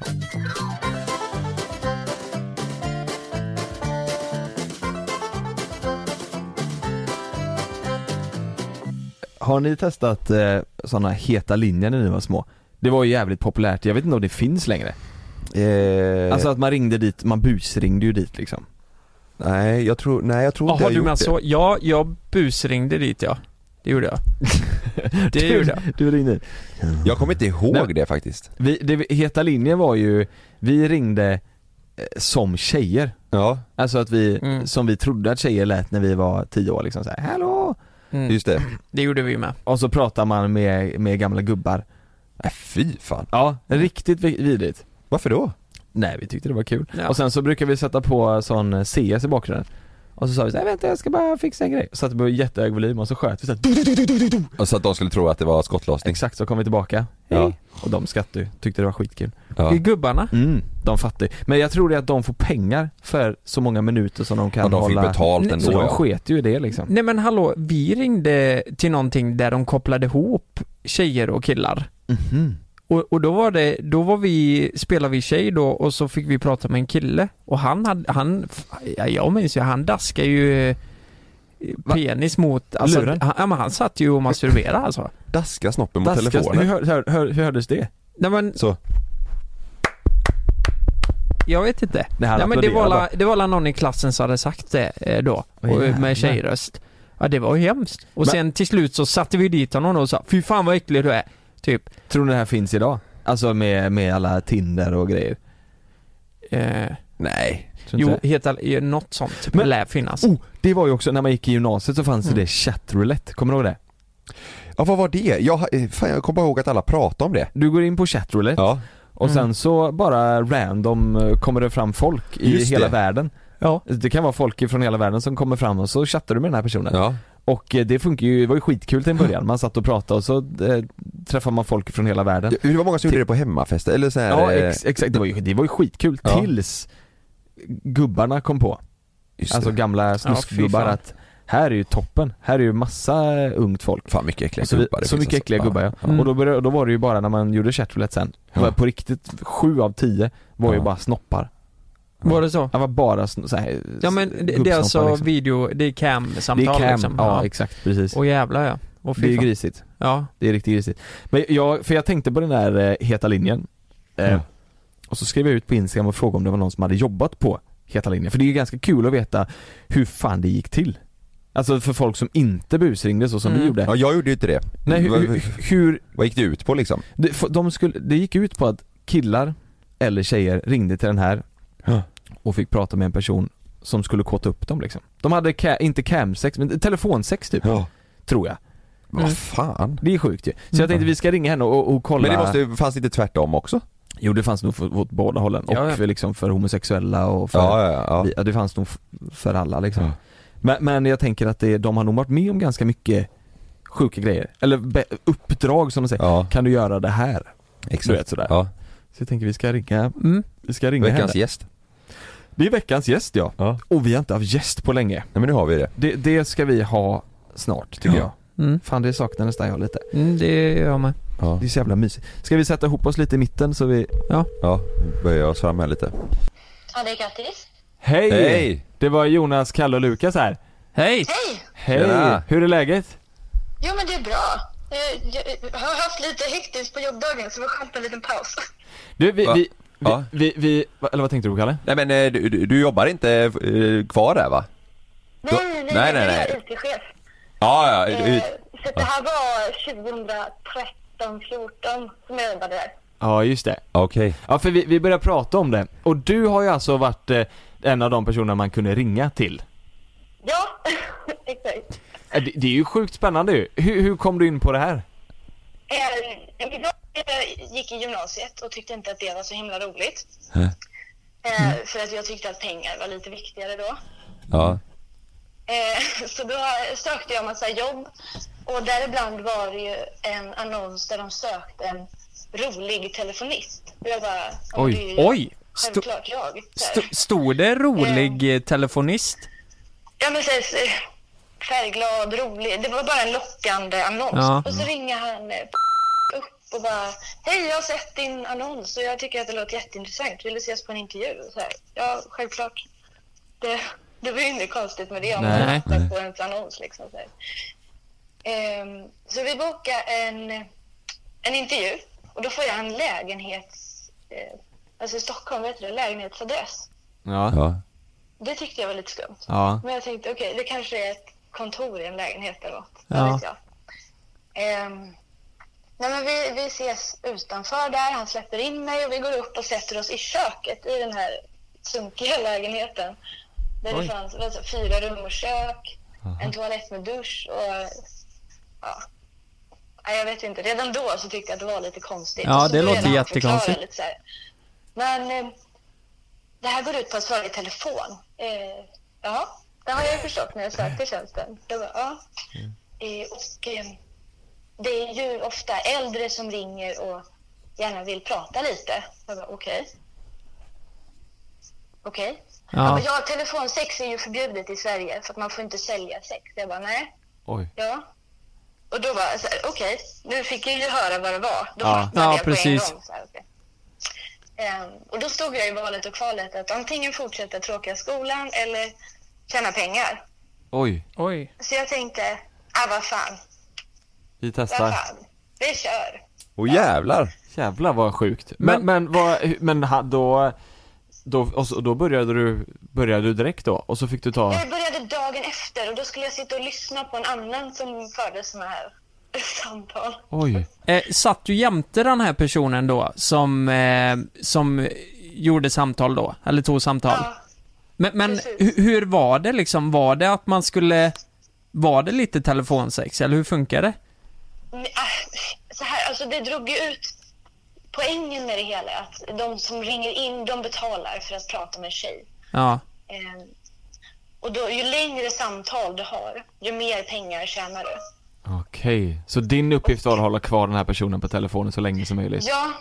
Speaker 1: Har ni testat eh, sådana heta linjer när ni var små? Det var ju jävligt populärt, jag vet inte om det finns längre
Speaker 2: Eh,
Speaker 1: Alltså att man ringde dit, man busringde ju dit liksom
Speaker 2: Eh, nej jag tror, nej jag tror inte jag
Speaker 3: Jaha du
Speaker 2: gjort
Speaker 3: menar
Speaker 2: det.
Speaker 3: så? Ja, jag busringde dit ja. Det gjorde jag. Det gjorde jag.
Speaker 1: Du ringde
Speaker 2: Jag kommer inte ihåg
Speaker 1: Nej.
Speaker 2: det faktiskt.
Speaker 1: vi, det, Heta linjen var ju, vi ringde eh, som tjejer
Speaker 2: Ja,
Speaker 1: Alltså att vi,
Speaker 3: Mm.
Speaker 1: som vi trodde att tjejer lät när vi var 10 år liksom såhär, hallå!
Speaker 3: Mm.
Speaker 2: just det.
Speaker 3: Det gjorde vi med.
Speaker 1: Och så pratar man med, med gamla gubbar
Speaker 2: Nej Äh, fy fan.
Speaker 1: Ja,
Speaker 3: Mm.
Speaker 1: riktigt vi- vidrigt
Speaker 2: Varför då?
Speaker 1: Nej vi tyckte det var kul.
Speaker 3: Ja.
Speaker 1: Och sen så brukar vi sätta på sån CS eh, i bakgrunden Och så sa vi såhär, vänta jag ska bara fixa en grej. Så att det blev jättehög volym och så sköt vi såhär, du, du, du, du, du, du.
Speaker 2: Och Så att de skulle tro att det var skottlossning.
Speaker 1: Exakt så kom vi tillbaka.
Speaker 2: Ja.
Speaker 1: Och de skrattade ju, tyckte det var skitkul.
Speaker 2: Ja.
Speaker 3: Det är gubbarna.
Speaker 1: Mm, de fattar ju. Men jag tror det är att de får pengar för så många minuter som de kan
Speaker 2: Och de fick
Speaker 1: hålla.
Speaker 2: betalt
Speaker 1: så
Speaker 2: ändå.
Speaker 1: de
Speaker 2: Ja.
Speaker 1: sket ju i det liksom.
Speaker 3: Nej men hallå, vi ringde till någonting där de kopplade ihop tjejer och killar.
Speaker 2: Mm-hmm.
Speaker 1: Mhm.
Speaker 3: Och, och då var det, då var vi, spelade vi tjej då och så fick vi prata med en kille och han hade, han, ja, jag minns ju, han daskade ju eh,
Speaker 1: Va?
Speaker 3: penis mot, alltså,
Speaker 1: Luren?
Speaker 3: han, ja, men han satt ju och masturberade alltså.
Speaker 2: Daska snoppen mot
Speaker 1: Daskas-
Speaker 2: telefonen.
Speaker 1: hur, hör, hör, hör, hur hördes det?
Speaker 3: Nej men
Speaker 2: Så.
Speaker 3: jag vet inte.
Speaker 1: Nej, han
Speaker 3: Ja, men det,
Speaker 1: applåderade
Speaker 3: var
Speaker 1: bara.
Speaker 3: la, det var la någon i klassen som hade sagt det eh, då,
Speaker 1: Åh,
Speaker 3: och,
Speaker 1: jävlar.
Speaker 3: med tjejröst. Ja det var ju hemskt. Och
Speaker 1: Men-
Speaker 3: sen till slut så satte vi dit honom och sa 'Fy fan vad äcklig du är' typ.
Speaker 1: Tror ni det här finns idag? Alltså med, med alla Tinder och grejer?
Speaker 3: Eh,
Speaker 2: Nej.
Speaker 1: Tror inte
Speaker 3: jo,
Speaker 1: det?
Speaker 3: helt all- eh, något sånt
Speaker 1: Men-
Speaker 3: lär finnas.
Speaker 1: Oh, det var ju också, när man gick i gymnasiet så fanns det
Speaker 3: Mm.
Speaker 1: det chattroulette, kommer du ihåg det?
Speaker 2: Ja vad var det? Jag, eh, fan, jag kommer bara ihåg att alla pratade om det.
Speaker 1: Du går in på chattroulette
Speaker 2: Ja.
Speaker 1: och
Speaker 3: Mm.
Speaker 1: sen så bara random eh, kommer det fram folk i
Speaker 2: Just
Speaker 1: hela
Speaker 2: det.
Speaker 1: världen.
Speaker 3: Ja.
Speaker 1: Det kan vara folk från hela världen som kommer fram och så chattar du med den här personen.
Speaker 2: ja.
Speaker 1: Och eh, det funkar ju, det var ju skitkul till en början. Man satt och pratade och så eh, träffade man folk från hela världen.
Speaker 2: Det var många som gjorde det på hemmafester eller så här,
Speaker 1: Ja
Speaker 2: eh,
Speaker 1: ex, exakt, det var ju, det var ju skitkul
Speaker 2: Ja.
Speaker 1: tills gubbarna kom på.
Speaker 2: just
Speaker 1: Alltså
Speaker 2: det.
Speaker 1: gamla snuskgubbar
Speaker 3: fan.
Speaker 1: att här är ju toppen, här är ju massa eh, ungt folk.
Speaker 2: Fan Alltså, mycket äckliga
Speaker 1: Så, vi,
Speaker 2: gubbar det
Speaker 1: så
Speaker 2: finns
Speaker 1: mycket äckliga gubbar ja.
Speaker 3: Mm.
Speaker 1: Och då, började, då var det ju bara när man gjorde chatroulette sen,
Speaker 2: Ja.
Speaker 1: var på riktigt, sju av tio var ju
Speaker 2: Ja.
Speaker 1: bara snoppar.
Speaker 3: Var det så?
Speaker 1: Det var bara sn- så här,
Speaker 3: Ja men det, det är
Speaker 1: gubbsnoppar
Speaker 3: alltså
Speaker 1: liksom.
Speaker 3: video, det är
Speaker 1: Det är
Speaker 3: cam-samtal
Speaker 1: cam,
Speaker 3: liksom.
Speaker 1: ja exakt precis.
Speaker 3: Och jävlar ja. Och
Speaker 1: det är
Speaker 3: fy
Speaker 1: ju
Speaker 3: fan.
Speaker 1: grisigt.
Speaker 3: Ja.
Speaker 1: Det är riktigt grisigt. Men jag, för jag tänkte på den där eh, Heta linjen. Eh,
Speaker 2: Ja.
Speaker 1: Och så skrev jag ut på Instagram och frågade om det var någon som hade jobbat på Heta linjen. För det är ju ganska kul att veta hur fan det gick till. Alltså för folk som inte busringde så som vi
Speaker 3: Mm.
Speaker 1: gjorde.
Speaker 2: Ja jag gjorde ju inte det.
Speaker 1: Nej, hur, hur, hur,
Speaker 2: Vad gick det ut på liksom?
Speaker 1: Det, f- de skulle, det gick ut på att killar eller tjejer ringde till den här
Speaker 2: Ja.
Speaker 1: och fick prata med en person som skulle kåta upp dem liksom. De hade ca, inte camsex men telefonsex typ,
Speaker 2: Ja.
Speaker 1: tror jag.
Speaker 2: Vad fan?
Speaker 1: Det är sjukt ju. Så jag tänkte vi ska ringa henne och, och kolla.
Speaker 2: Mm. Men det måste, fanns det inte tvärtom också?
Speaker 1: Jo det fanns nog för, åt båda hållen och
Speaker 3: Ja, ja.
Speaker 1: För, liksom för homosexuella och för,
Speaker 2: Ja, ja, ja.
Speaker 1: ja, det fanns nog f- för alla liksom.
Speaker 2: Ja.
Speaker 1: Men, men jag tänker att det, de har nog varit med om ganska mycket sjuka grejer. Eller be, uppdrag som de säger.
Speaker 2: ja
Speaker 1: Kan du göra det här? Du
Speaker 2: exakt.
Speaker 1: vet sådär.
Speaker 2: Ja.
Speaker 1: Så jag tänker vi ska ringa,
Speaker 3: Mm.
Speaker 1: vi ska ringa henne.
Speaker 2: Veckans gäst.
Speaker 1: Det är veckans gäst ja.
Speaker 2: Ja.
Speaker 1: Och vi har inte haft gäst på länge.
Speaker 2: Nej men nu har vi det.
Speaker 1: Det, det ska vi ha snart tycker
Speaker 2: Ja.
Speaker 1: jag.
Speaker 3: Mm.
Speaker 1: Fan det saknar nästan jag lite.
Speaker 3: Mm, det gör jag med.
Speaker 2: Ja.
Speaker 1: Det är så jävla mysigt. Ska vi sätta ihop oss lite i mitten så vi...
Speaker 2: Ja, böjer oss fram här lite.
Speaker 4: Ja, det är grattis.
Speaker 1: Hej!
Speaker 2: Hej!
Speaker 1: Det var Jonas, Kalle och Lukas här.
Speaker 3: Hej!
Speaker 4: Hej!
Speaker 1: Hej!
Speaker 2: Tjena!
Speaker 1: Hur är läget?
Speaker 4: Jo, men det är bra. Eh, Jag har haft lite hektiskt på jobbdagen, så det var skönt med en liten paus.
Speaker 1: Du vi,
Speaker 2: Va?
Speaker 1: vi, vi,
Speaker 2: Ja.
Speaker 1: vi, vi, va- eller vad tänkte du Kalle?
Speaker 2: Nej men eh, du, du du jobbar inte eh, kvar där va?
Speaker 4: Nej, nej,
Speaker 2: nej,
Speaker 4: nej.
Speaker 2: nej,
Speaker 4: Jag
Speaker 2: nej.
Speaker 4: är IT-chef.
Speaker 2: Ja, ja.
Speaker 4: Eh,
Speaker 2: ut-
Speaker 4: Så att det här var 2013, 14 som jag jobbade där.
Speaker 1: Ja just det.
Speaker 2: Okej.
Speaker 1: Ja för vi, vi började prata om det. Och du har ju alltså varit eh, en av de personer man kunde ringa till.
Speaker 4: Ja, exakt.
Speaker 1: Eh, Det, det är ju sjukt spännande ju. Hur, hur kom du in på det här?
Speaker 4: Eh, Min dotter eh, gick i gymnasiet och tyckte inte att det var så himla roligt.
Speaker 2: Hä?
Speaker 4: Eh, För att jag tyckte att pengar var lite viktigare då.
Speaker 2: Ja.
Speaker 4: Eh, Så då sökte jag massa jobb och däribland var det ju en annons där de sökte en rolig telefonist. Och jag bara, ja, men
Speaker 1: Oj.
Speaker 4: det är ju jag.
Speaker 3: Oj! Sto-
Speaker 4: Självklart jag. Så här.
Speaker 3: sto- stod det rolig eh, telefonist?
Speaker 4: Ja men så här, så här, färgglad, rolig. Det var bara en lockande annons.
Speaker 3: Ja.
Speaker 4: Och så ringer han eh, upp och bara, hej jag har sett din annons och jag tycker att det låter jätteintressant. Vill du ses på en intervju? Så här, ja, självklart. Det, det var ju inget konstigt med det om man
Speaker 3: Nej.
Speaker 4: satsar på en annons liksom. Så, här. Ehm, så vi bokar en, en intervju och då får jag en lägenhets, eh, alltså i Stockholm, vet du det, lägenhetsadress.
Speaker 1: Ja.
Speaker 2: Ja.
Speaker 4: Det tyckte jag var lite skumt.
Speaker 1: Ja.
Speaker 4: Men jag tänkte okej, det kanske är ett kontor i en lägenhet eller något.
Speaker 3: Ja.
Speaker 4: Vad vet jag. Ehm, nej men vi, vi ses utanför där, han släpper in mig och vi går upp och sätter oss i köket i den här sunkiga lägenheten. Där
Speaker 1: Oj.
Speaker 4: det fanns alltså, fyra rum och kök, en toalett med dusch och ja. Nej, jag vet inte. Redan då så tyckte jag att det var lite konstigt.
Speaker 3: Ja,
Speaker 4: Och så
Speaker 3: det
Speaker 4: började
Speaker 3: låter
Speaker 4: han
Speaker 3: jättekonstigt.
Speaker 4: förklara Lite så här. Men eh, det här går ut på att svara i telefon. Eh, jaha, Det har jag ju förstått när jag sökte tjänsten. Det var, ja.
Speaker 3: Mm.
Speaker 4: Eh, och eh, det är ju ofta äldre som ringer och gärna vill prata lite. Jag bara, okej. Okej. Ja.
Speaker 3: Ja.
Speaker 4: men ja, telefonsex är ju förbjudet i Sverige för att man får inte sälja sex. Jag bara, nej.
Speaker 5: Oj.
Speaker 4: Ja. Och då var jag så här, okej, nu fick jag ju höra vad det var. Då
Speaker 5: Ja.
Speaker 4: fattade
Speaker 3: Ja,
Speaker 4: jag
Speaker 3: precis.
Speaker 4: på en gång. Så här, okej. Ehm, och då stod jag i valet och kvalet att antingen fortsätta tråkiga skolan eller tjäna pengar.
Speaker 5: Oj,
Speaker 3: Oj.
Speaker 4: Så jag tänkte, ah vad fan,
Speaker 1: Vi
Speaker 4: vad
Speaker 1: testar.
Speaker 4: fan, vi kör.
Speaker 2: Åh jävlar!
Speaker 1: Jävlar vad sjukt. Men, men, vad, men ha- då, då, och så, då började du, började du direkt då? Och så fick du ta,
Speaker 4: Jag började dagen efter och då skulle jag sitta och lyssna på en annan som förde såna här samtal.
Speaker 1: oj.
Speaker 3: Eh, satt du jämte den här personen då som, eh, som gjorde samtal då? Eller tog samtal?
Speaker 4: Ja.
Speaker 3: men men
Speaker 4: precis.
Speaker 3: hu- hur var det liksom? Var det att man skulle... Var det lite telefonsex eller hur funkar det?
Speaker 4: Men, ah, så här, alltså det drog ju ut poängen med det hela. Att de som ringer in, de betalar för att prata med en tjej.
Speaker 3: Ja.
Speaker 4: Eh, och då, ju längre samtal du har, ju mer pengar tjänar du.
Speaker 1: Okej, så din uppgift var att hålla kvar den här personen på telefonen så länge som möjligt?
Speaker 4: Ja,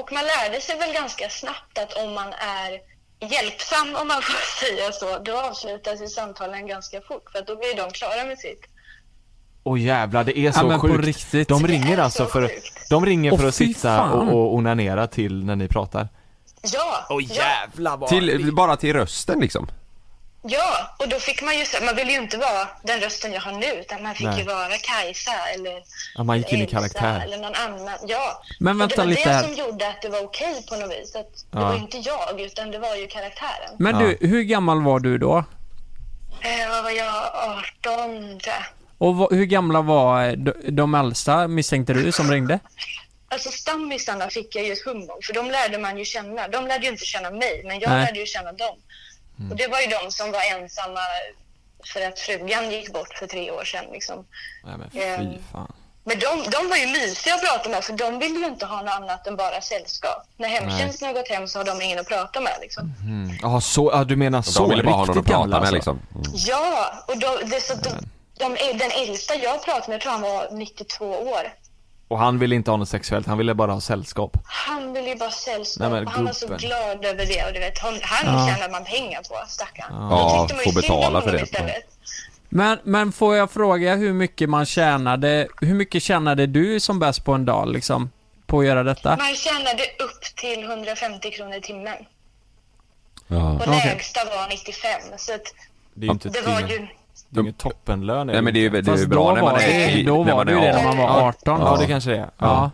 Speaker 4: och man lärde sig väl ganska snabbt att om man är hjälpsam, om man får säga så, då avslutas ju samtalen ganska fort för att då blir de klara med sitt.
Speaker 1: Åh jävlar, det är så
Speaker 3: ja men
Speaker 1: sjukt.
Speaker 3: på riktigt.
Speaker 1: De ringer
Speaker 4: Det är
Speaker 1: alltså
Speaker 4: så
Speaker 1: för,
Speaker 4: sjukt.
Speaker 1: de ringer
Speaker 3: Åh,
Speaker 1: för att
Speaker 3: fy
Speaker 1: sitta
Speaker 3: fan.
Speaker 1: och, och onanera till när ni pratar?
Speaker 4: Ja, ja,
Speaker 1: jävlar vad...
Speaker 2: Till, bara till rösten liksom.
Speaker 4: ja, och då fick man ju, så- man ville ju inte vara den rösten jag har nu utan man fick
Speaker 1: Nej.
Speaker 4: ju vara Kajsa eller
Speaker 1: Ja, man gick in i
Speaker 4: Elsa
Speaker 1: karaktär.
Speaker 4: eller någon annan. Ja.
Speaker 3: Men
Speaker 4: Och
Speaker 3: vänta
Speaker 4: det var
Speaker 3: lite
Speaker 4: det
Speaker 3: här.
Speaker 4: som gjorde att det var okej på något vis. Att
Speaker 1: Ja.
Speaker 4: Det var ju inte jag utan det var ju karaktären.
Speaker 3: Men du, hur gammal var du då?
Speaker 4: Eh, vad var jag? 18 tror jag.
Speaker 3: Och vad- hur gamla var eh, de, de äldsta misstänkte du som ringde?
Speaker 4: Alltså stammisarna fick jag ju ett hum om, för de lärde man ju känna. De lärde ju inte känna mig, men jag
Speaker 3: Nej.
Speaker 4: lärde ju känna dem.
Speaker 1: Mm.
Speaker 4: Och det var ju de som var ensamma för att frugan gick bort för tre år sedan. Liksom.
Speaker 1: Nej men
Speaker 4: Ehm.
Speaker 1: fy fan.
Speaker 4: Men de, de var ju mysiga att prata med, för de ville ju inte ha något annat än bara sällskap. När hemtjänsten har gått hem så har de ingen att prata med. Liksom.
Speaker 2: Mhm.
Speaker 1: Mm. Ja, så, ja, du menar så
Speaker 2: De ville bara ha någon
Speaker 1: riktigt
Speaker 2: att prata
Speaker 1: gamla, alltså.
Speaker 2: med liksom. Mm.
Speaker 4: Ja, och då, det, är så att de, de, är- den äldsta jag pratade med, jag tror han var 92 år.
Speaker 1: Och han ville inte ha något sexuellt, han ville bara ha sällskap.
Speaker 4: Han ville ju bara sällskap
Speaker 1: Nej, men
Speaker 4: och han var så
Speaker 1: gubben.
Speaker 4: glad över det. Och du vet, han han tjänar man pengar på, stackarn.
Speaker 2: Ja,
Speaker 4: Då tyckte man ju
Speaker 2: får
Speaker 4: synd om
Speaker 2: betala för
Speaker 4: honom
Speaker 2: det.
Speaker 4: istället.
Speaker 3: Men, men får jag fråga hur mycket man tjänade? Hur mycket tjänade du som bäst på en dag liksom? På att göra detta?
Speaker 4: Man tjänade upp till 150 kronor i timmen.
Speaker 2: Ja.
Speaker 4: Och
Speaker 3: Okej.
Speaker 4: lägsta var 95. Så att
Speaker 1: Det är ju inte
Speaker 2: Typ
Speaker 4: det var
Speaker 1: det
Speaker 4: ju...
Speaker 1: är ju ingen toppenlön. är
Speaker 2: Nej men det är ju det är ju
Speaker 3: Fast då
Speaker 2: bra när
Speaker 3: var
Speaker 2: man är
Speaker 3: det, då
Speaker 2: när
Speaker 3: var
Speaker 2: man
Speaker 3: det ju det när man
Speaker 4: Ja.
Speaker 3: var 18.
Speaker 1: Ja, det kanske det är.
Speaker 3: Ja,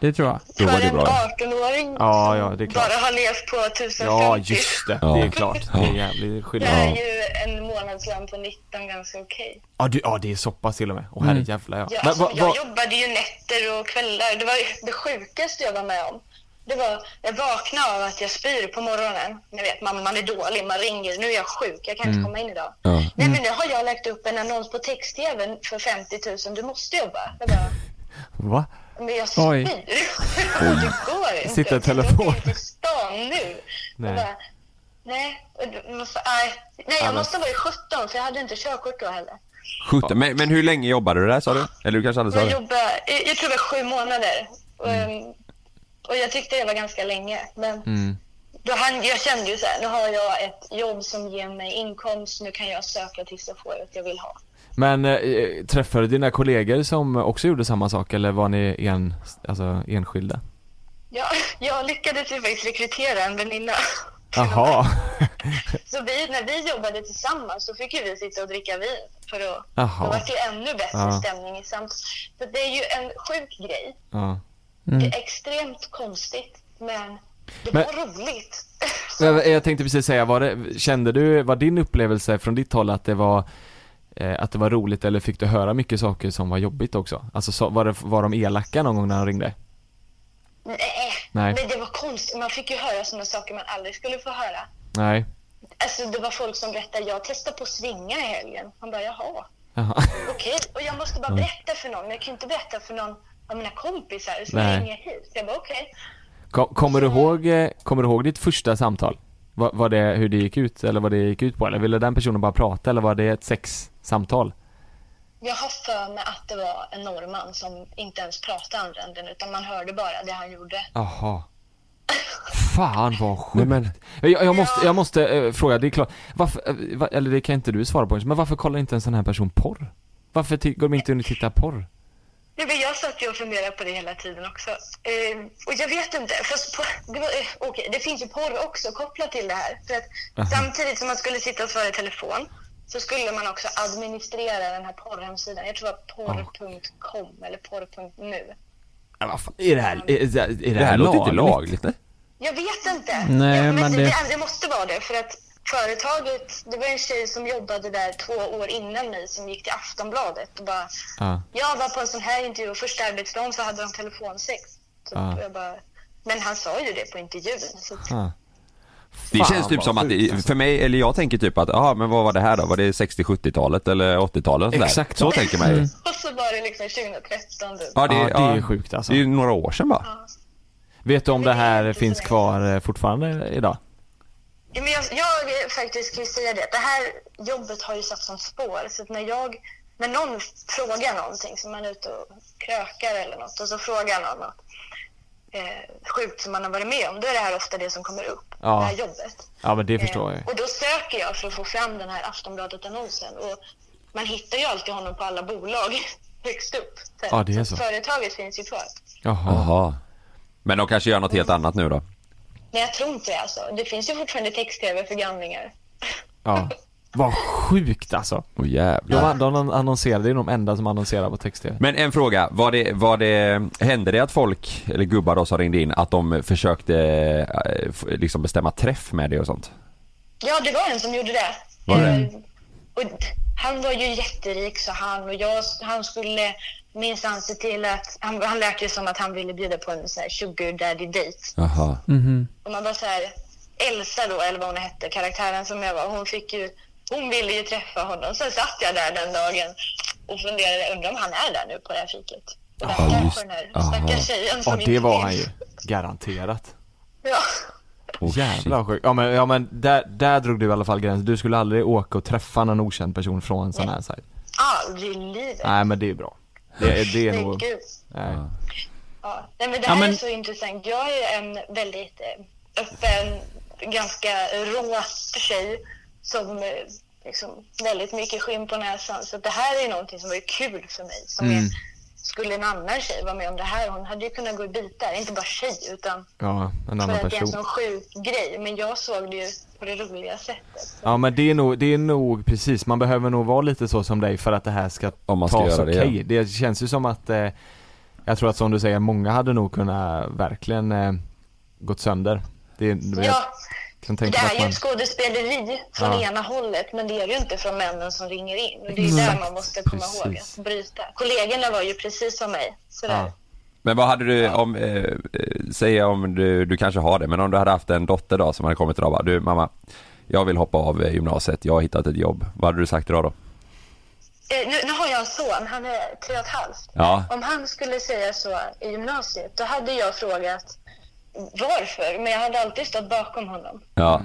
Speaker 3: det tror jag.
Speaker 2: Då var
Speaker 4: För
Speaker 2: det
Speaker 4: en
Speaker 2: bra.
Speaker 4: 18-åring
Speaker 1: Ja,
Speaker 4: som
Speaker 1: ja, det är klart.
Speaker 4: bara har levt på 1050.
Speaker 1: Ja, just det. Det är
Speaker 2: Ja.
Speaker 1: klart. Det är jävligt
Speaker 4: Det
Speaker 1: skillnad.
Speaker 4: är
Speaker 1: Ja.
Speaker 4: ju en månadslön på 19 ganska okej.
Speaker 1: Ja, du, ja, det är så pass till och med. Åh herrejävlar ja.
Speaker 4: Ja,
Speaker 1: Men
Speaker 4: alltså,
Speaker 1: vad-
Speaker 4: jag
Speaker 1: vad-
Speaker 4: jobbade ju nätter och kvällar. Det var ju det sjukaste jag var med om. Det var, jag vaknade av att jag spyr på morgonen. Ni vet, man, man är dålig, man ringer. Nu är jag sjuk, jag kan
Speaker 1: Mm.
Speaker 4: inte komma in idag. Nej, men nu har jag lagt upp en annons på text-tv för 50 000. Du måste jobba. Jag bara,
Speaker 1: Va?
Speaker 4: men jag
Speaker 3: Oj.
Speaker 4: spyr. det går inte.
Speaker 1: Sitter i
Speaker 4: Jag kan
Speaker 1: telefon.
Speaker 4: åka in till stan nu.
Speaker 1: Nej.
Speaker 4: Nej. Bara, nej, och då måste, nej, nej, jag måste ha varit 17 för jag hade inte körkort då heller.
Speaker 2: 17. Men, men hur länge jobbade du där sa du? Eller du kanske aldrig sa
Speaker 4: Jag
Speaker 2: det?
Speaker 4: jobbade, jag, jag tror det var sju månader. Och,
Speaker 1: Mm.
Speaker 4: ehm, och jag tyckte det var ganska länge. Men
Speaker 1: Mm.
Speaker 4: då han, jag kände ju så här, nu har jag ett jobb som ger mig inkomst, nu kan jag söka tills jag får det jag vill ha.
Speaker 1: Men eh, träffade du dina kollegor som också gjorde samma sak eller var ni en, alltså, enskilda?
Speaker 4: Jag, jag lyckades ju faktiskt rekrytera en väninna.
Speaker 1: Jaha,
Speaker 4: Så vi, när vi jobbade tillsammans så fick ju vi sitta och dricka vin för att
Speaker 1: Jaha.
Speaker 4: då var det ju ännu bättre
Speaker 1: Ja.
Speaker 4: stämning i samt. Så det är ju en sjuk grej.
Speaker 1: ja. Mm.
Speaker 4: Det är extremt konstigt, men det
Speaker 1: Men-
Speaker 4: var roligt.
Speaker 1: Men eh, Jag, jag tänkte precis säga, var det, kände du, var din upplevelse från ditt håll att det var eh, att det var roligt eller fick du höra mycket saker som var jobbigt också? Alltså så, var, det, var de elaka någon gång när de ringde?
Speaker 4: Nej.
Speaker 1: Nej.
Speaker 4: men det var konstigt. Man fick ju höra sådana saker man aldrig skulle få höra.
Speaker 1: Nej,
Speaker 4: Alltså det var folk som berättade, jag testade på att svinga i helgen. Han bara, jaha,
Speaker 1: jaha,
Speaker 4: okej. Och jag måste bara berätta för någon, men jag kan ju inte berätta för någon av mina kompisar som
Speaker 1: Nej.
Speaker 4: hänger hit. Jag bara, okej.
Speaker 1: Ko- Kommer du ihåg, eh, kommer du ihåg ditt första samtal? Var, var det hur det gick ut eller vad det gick ut på eller ville den personen bara prata eller var det ett sexsamtal?
Speaker 4: Jag har för mig att det var en norrman som inte ens pratade andra änden utan man hörde bara det han gjorde.
Speaker 1: Jaha Fan vad
Speaker 2: Nej
Speaker 1: sjukt.
Speaker 2: men,
Speaker 1: Jag, jag måste, jag måste eh, fråga, det är klart, varför, eh, va, eller det kan inte du svara på men varför kollar inte en sån här person porr? Varför ti- går de inte in och tittar porr?
Speaker 4: Nej, men jag satt ju och funderade på det hela tiden också. Eh, och jag vet inte, fast på, det, var, eh, okej, det finns ju porr också kopplat till det här. För att Samtidigt som man skulle sitta och svara i telefon så skulle man också administrera den här porrhemsidan. Jag tror det var porr.com eller porr.nu.
Speaker 1: Är det här, är,
Speaker 2: det här låter inte lagligt nej?
Speaker 4: Jag vet inte.
Speaker 3: Nej,
Speaker 4: jag,
Speaker 3: men
Speaker 4: det,
Speaker 3: det-
Speaker 4: det, det måste vara det. För att företaget, det var en tjej som jobbade där två år innan mig som gick till Aftonbladet och bara
Speaker 1: Ja.
Speaker 4: Jag var på en sån här intervju och första arbetsdagen så hade de telefonsex. Typ.
Speaker 1: Ah.
Speaker 4: Och Jag bara, men han sa ju det på intervjun. Så att,
Speaker 2: Det
Speaker 1: Fan,
Speaker 2: känns typ
Speaker 1: vad
Speaker 2: som att,
Speaker 1: sjukt,
Speaker 2: det,
Speaker 1: alltså.
Speaker 2: för mig, eller jag tänker typ att, ja men vad var det här då? Var det 60-70-talet eller 80-talet? sådär?
Speaker 1: Exakt.
Speaker 2: Så tänker man
Speaker 3: Mm.
Speaker 2: ju.
Speaker 4: och så var det liksom 2013 typ.
Speaker 2: Ja, det,
Speaker 1: Ja, det är
Speaker 2: ja,
Speaker 1: sjukt alltså.
Speaker 2: Det är ju några år sedan bara.
Speaker 1: Vet du om det här
Speaker 4: Det är
Speaker 1: finns
Speaker 4: inte så
Speaker 1: kvar eh, fortfarande idag?
Speaker 4: Ja, Men jag, jag faktiskt kan ju säga det, det här jobbet har ju satt som spår. Så att när, jag, när någon frågar någonting, som man är ute och krökar eller något, och så frågar någon något eh, sjukt som man har varit med om, då är det här ofta det som kommer upp.
Speaker 1: Ja.
Speaker 4: Det här jobbet.
Speaker 1: Ja men det förstår jag ju.
Speaker 4: Eh, Och då söker jag för att få fram den här Aftonbladet-annonsen. Och man hittar ju alltid honom på alla bolag högst upp. Så här.
Speaker 1: Ja, det är så.
Speaker 4: att Företaget finns ju kvar.
Speaker 1: Jaha.
Speaker 2: Jaha. Men de kanske gör något helt annat nu då?
Speaker 4: Nej, jag tror inte det alltså. Det finns ju fortfarande text-tv för gamlingar.
Speaker 1: Ja. Vad sjukt alltså.
Speaker 2: Åh
Speaker 1: De,
Speaker 2: jävlar.
Speaker 1: an- de annonserade, det är de enda som annonserar på text-tv.
Speaker 2: Men en fråga, var det, var det, hände det att folk, eller gubbar då som ringde in, att de försökte eh, f- liksom bestämma träff med det och sånt?
Speaker 4: Ja, det var en som gjorde det.
Speaker 2: Var det?
Speaker 4: Eh, Och han var ju jätterik, sa han. Och jag, han skulle minsann se till att... Han, han lät ju som att han ville bjuda på en så här sugar daddy date.
Speaker 2: Jaha.
Speaker 4: Och man bara så här, Elsa då, eller vad hon hette, karaktären som jag var, hon fick ju, hon ville ju träffa honom. Sen satt jag där den dagen och funderade, undrar om han är där nu på det här fiket. Och
Speaker 2: Ja,
Speaker 4: verkar
Speaker 2: just-
Speaker 4: för den här
Speaker 2: aha.
Speaker 4: stackars tjejen som
Speaker 1: Ja det
Speaker 4: inte
Speaker 1: var
Speaker 4: vill.
Speaker 1: han ju. Garanterat.
Speaker 4: Ja.
Speaker 2: Oh,
Speaker 1: Jävlar vad sjukt. Ja men, ja, men där, där drog du i alla fall gränsen. Du skulle aldrig åka och träffa någon okänd person från en sån här sajt.
Speaker 4: Aldrig i livet.
Speaker 1: Nej men det är bra. Det, är- det är
Speaker 4: Men
Speaker 1: nog...
Speaker 4: gud.
Speaker 1: Nej.
Speaker 4: Ja. Nej, men det
Speaker 3: Ja,
Speaker 4: här
Speaker 3: men-
Speaker 4: är så intressant. Jag är en väldigt eh, öppen, ganska rå tjej som eh, liksom, väldigt mycket skinn på näsan. Så det här är någonting som var ju kul för mig. Som är, skulle en annan tjej vara med om det här, hon hade ju kunnat gå i bitar. Inte bara tjej, utan
Speaker 1: Ja, en
Speaker 4: för
Speaker 1: annan
Speaker 4: att det är en
Speaker 1: person.
Speaker 4: sån sjuk grej. Men jag såg det ju på det roliga sättet.
Speaker 1: Ja men det är nog, det är nog precis, man behöver nog vara lite så som dig för att det här ska
Speaker 2: Om man ska
Speaker 1: tas
Speaker 2: göra det,
Speaker 1: okej. Det känns ju som att, eh, jag tror att som du säger, många hade nog kunnat verkligen eh, gått sönder. Det, är- jag
Speaker 4: Ja,
Speaker 1: kan
Speaker 4: det
Speaker 1: tänka mig
Speaker 4: är
Speaker 1: att
Speaker 4: ju
Speaker 1: man,
Speaker 4: ett skådespeleri från
Speaker 1: Ja.
Speaker 4: ena hållet, men det är det ju inte från männen som ringer in. Och det är ju
Speaker 1: Exakt.
Speaker 4: där man måste komma ihåg
Speaker 1: Precis.
Speaker 4: att bryta. Kollegorna var ju precis som mig. Sådär.
Speaker 1: Ja.
Speaker 2: Men vad hade du om, eh, eh, säg om du, du kanske har det, men om du hade haft en dotter då som hade kommit idag och bara, du mamma, jag vill hoppa av eh, gymnasiet, jag har hittat ett jobb. Vad hade du sagt idag då?
Speaker 4: Eh, nu, nu har jag en son, han är tre och ett halvt.
Speaker 2: Ja.
Speaker 4: Om han skulle säga så i gymnasiet, då hade jag frågat varför, men jag hade alltid stått bakom honom.
Speaker 2: Ja.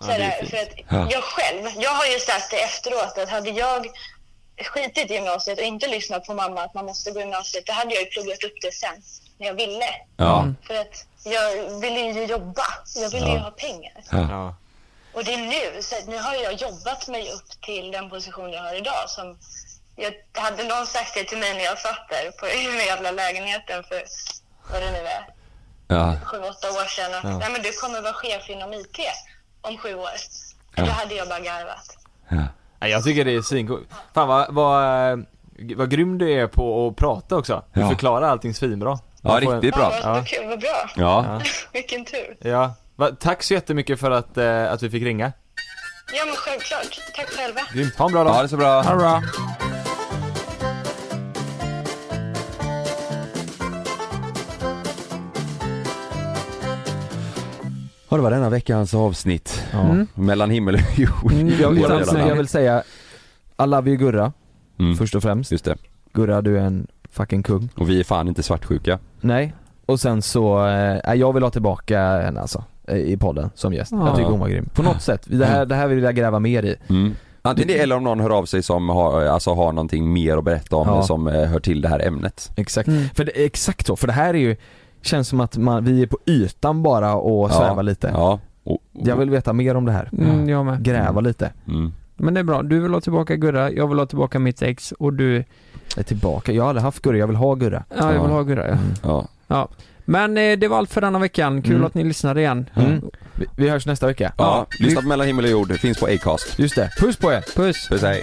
Speaker 4: Sådär, för att jag själv, jag har ju sagt det efteråt att hade jag skitit i gymnasiet och inte lyssnat på mamma att man måste gå i gymnasiet, då hade jag ju pluggat upp det sen när jag ville.
Speaker 2: Ja.
Speaker 4: För att jag ville ju jobba, jag ville ju ha pengar.
Speaker 1: ja.
Speaker 4: Och det är nu, så att nu har jag jobbat mig upp till den position jag har idag som jag, hade någon sagt det till mig när jag satt där på, i den jävla lägenheten för vad det nu är,
Speaker 2: Ja.
Speaker 4: sju, åtta år sedan att nej men du kommer vara chef inom IT om sju år. Då hade jag bara garvat.
Speaker 1: Nej, jag tycker det är svincoolt. Fan vad, vad, eh, vad grym du är på att prata också. Du
Speaker 2: Ja.
Speaker 1: förklarar allting svinbra.
Speaker 2: Ja,
Speaker 1: Man får en-
Speaker 2: riktigt
Speaker 4: Ja,
Speaker 2: bra.
Speaker 4: vad, vad kul, vad bra.
Speaker 2: Ja.
Speaker 4: Vilken tur.
Speaker 1: Ja. Va, tack så jättemycket för att, eh, att vi fick ringa.
Speaker 4: Ja men självklart. Tack själva.
Speaker 1: Grymt, ha en bra dag.
Speaker 2: Ja, det är så bra.
Speaker 1: bra.
Speaker 2: Ja, det var denna veckans avsnitt. Mm. Mellan himmel och jord.
Speaker 6: Jag vill,
Speaker 2: Båda delarna.
Speaker 6: jag vill säga, I love you Gurra,
Speaker 2: Mm.
Speaker 6: först och främst.
Speaker 2: Just det.
Speaker 6: Gurra du är en fucking kung.
Speaker 2: Och vi är fan inte svartsjuka.
Speaker 6: Nej. Och sen så, eh, jag vill ha tillbaka henne alltså.
Speaker 1: eh, i podden som gäst.
Speaker 3: Ja.
Speaker 1: Jag tycker hon var grym. På något sätt, det här, det här vill jag gräva mer i.
Speaker 2: Mm. Antingen det eller om någon hör av sig som har, alltså har någonting mer att berätta om
Speaker 1: Ja.
Speaker 2: som eh, hör till det här ämnet.
Speaker 1: Exakt.
Speaker 3: Mm.
Speaker 1: För det, exakt så, för det här är ju, känns som att man, vi är på ytan bara och
Speaker 2: Ja.
Speaker 1: svävar lite.
Speaker 2: Ja. Och,
Speaker 1: Jag vill veta mer om det här.
Speaker 3: Mm, jag med.
Speaker 1: Gräva lite.
Speaker 2: mm.
Speaker 3: Men det är bra. Du vill ha tillbaka Gurra, jag vill ha tillbaka mitt ex och du...
Speaker 1: Jag är tillbaka. Jag har aldrig haft Gurra, jag vill ha Gurra.
Speaker 3: Ja, jag
Speaker 2: Ja.
Speaker 3: vill ha Gurra ja.
Speaker 2: ja.
Speaker 3: Men eh, det var allt för denna veckan. Kul
Speaker 1: Mm.
Speaker 3: att ni lyssnade igen.
Speaker 1: Mm. Vi, vi hörs nästa vecka.
Speaker 2: ja. Lyssna på Mellan himmel och jord, finns på Acast.
Speaker 1: Just det. Puss på er!
Speaker 3: Puss!
Speaker 2: Puss hej.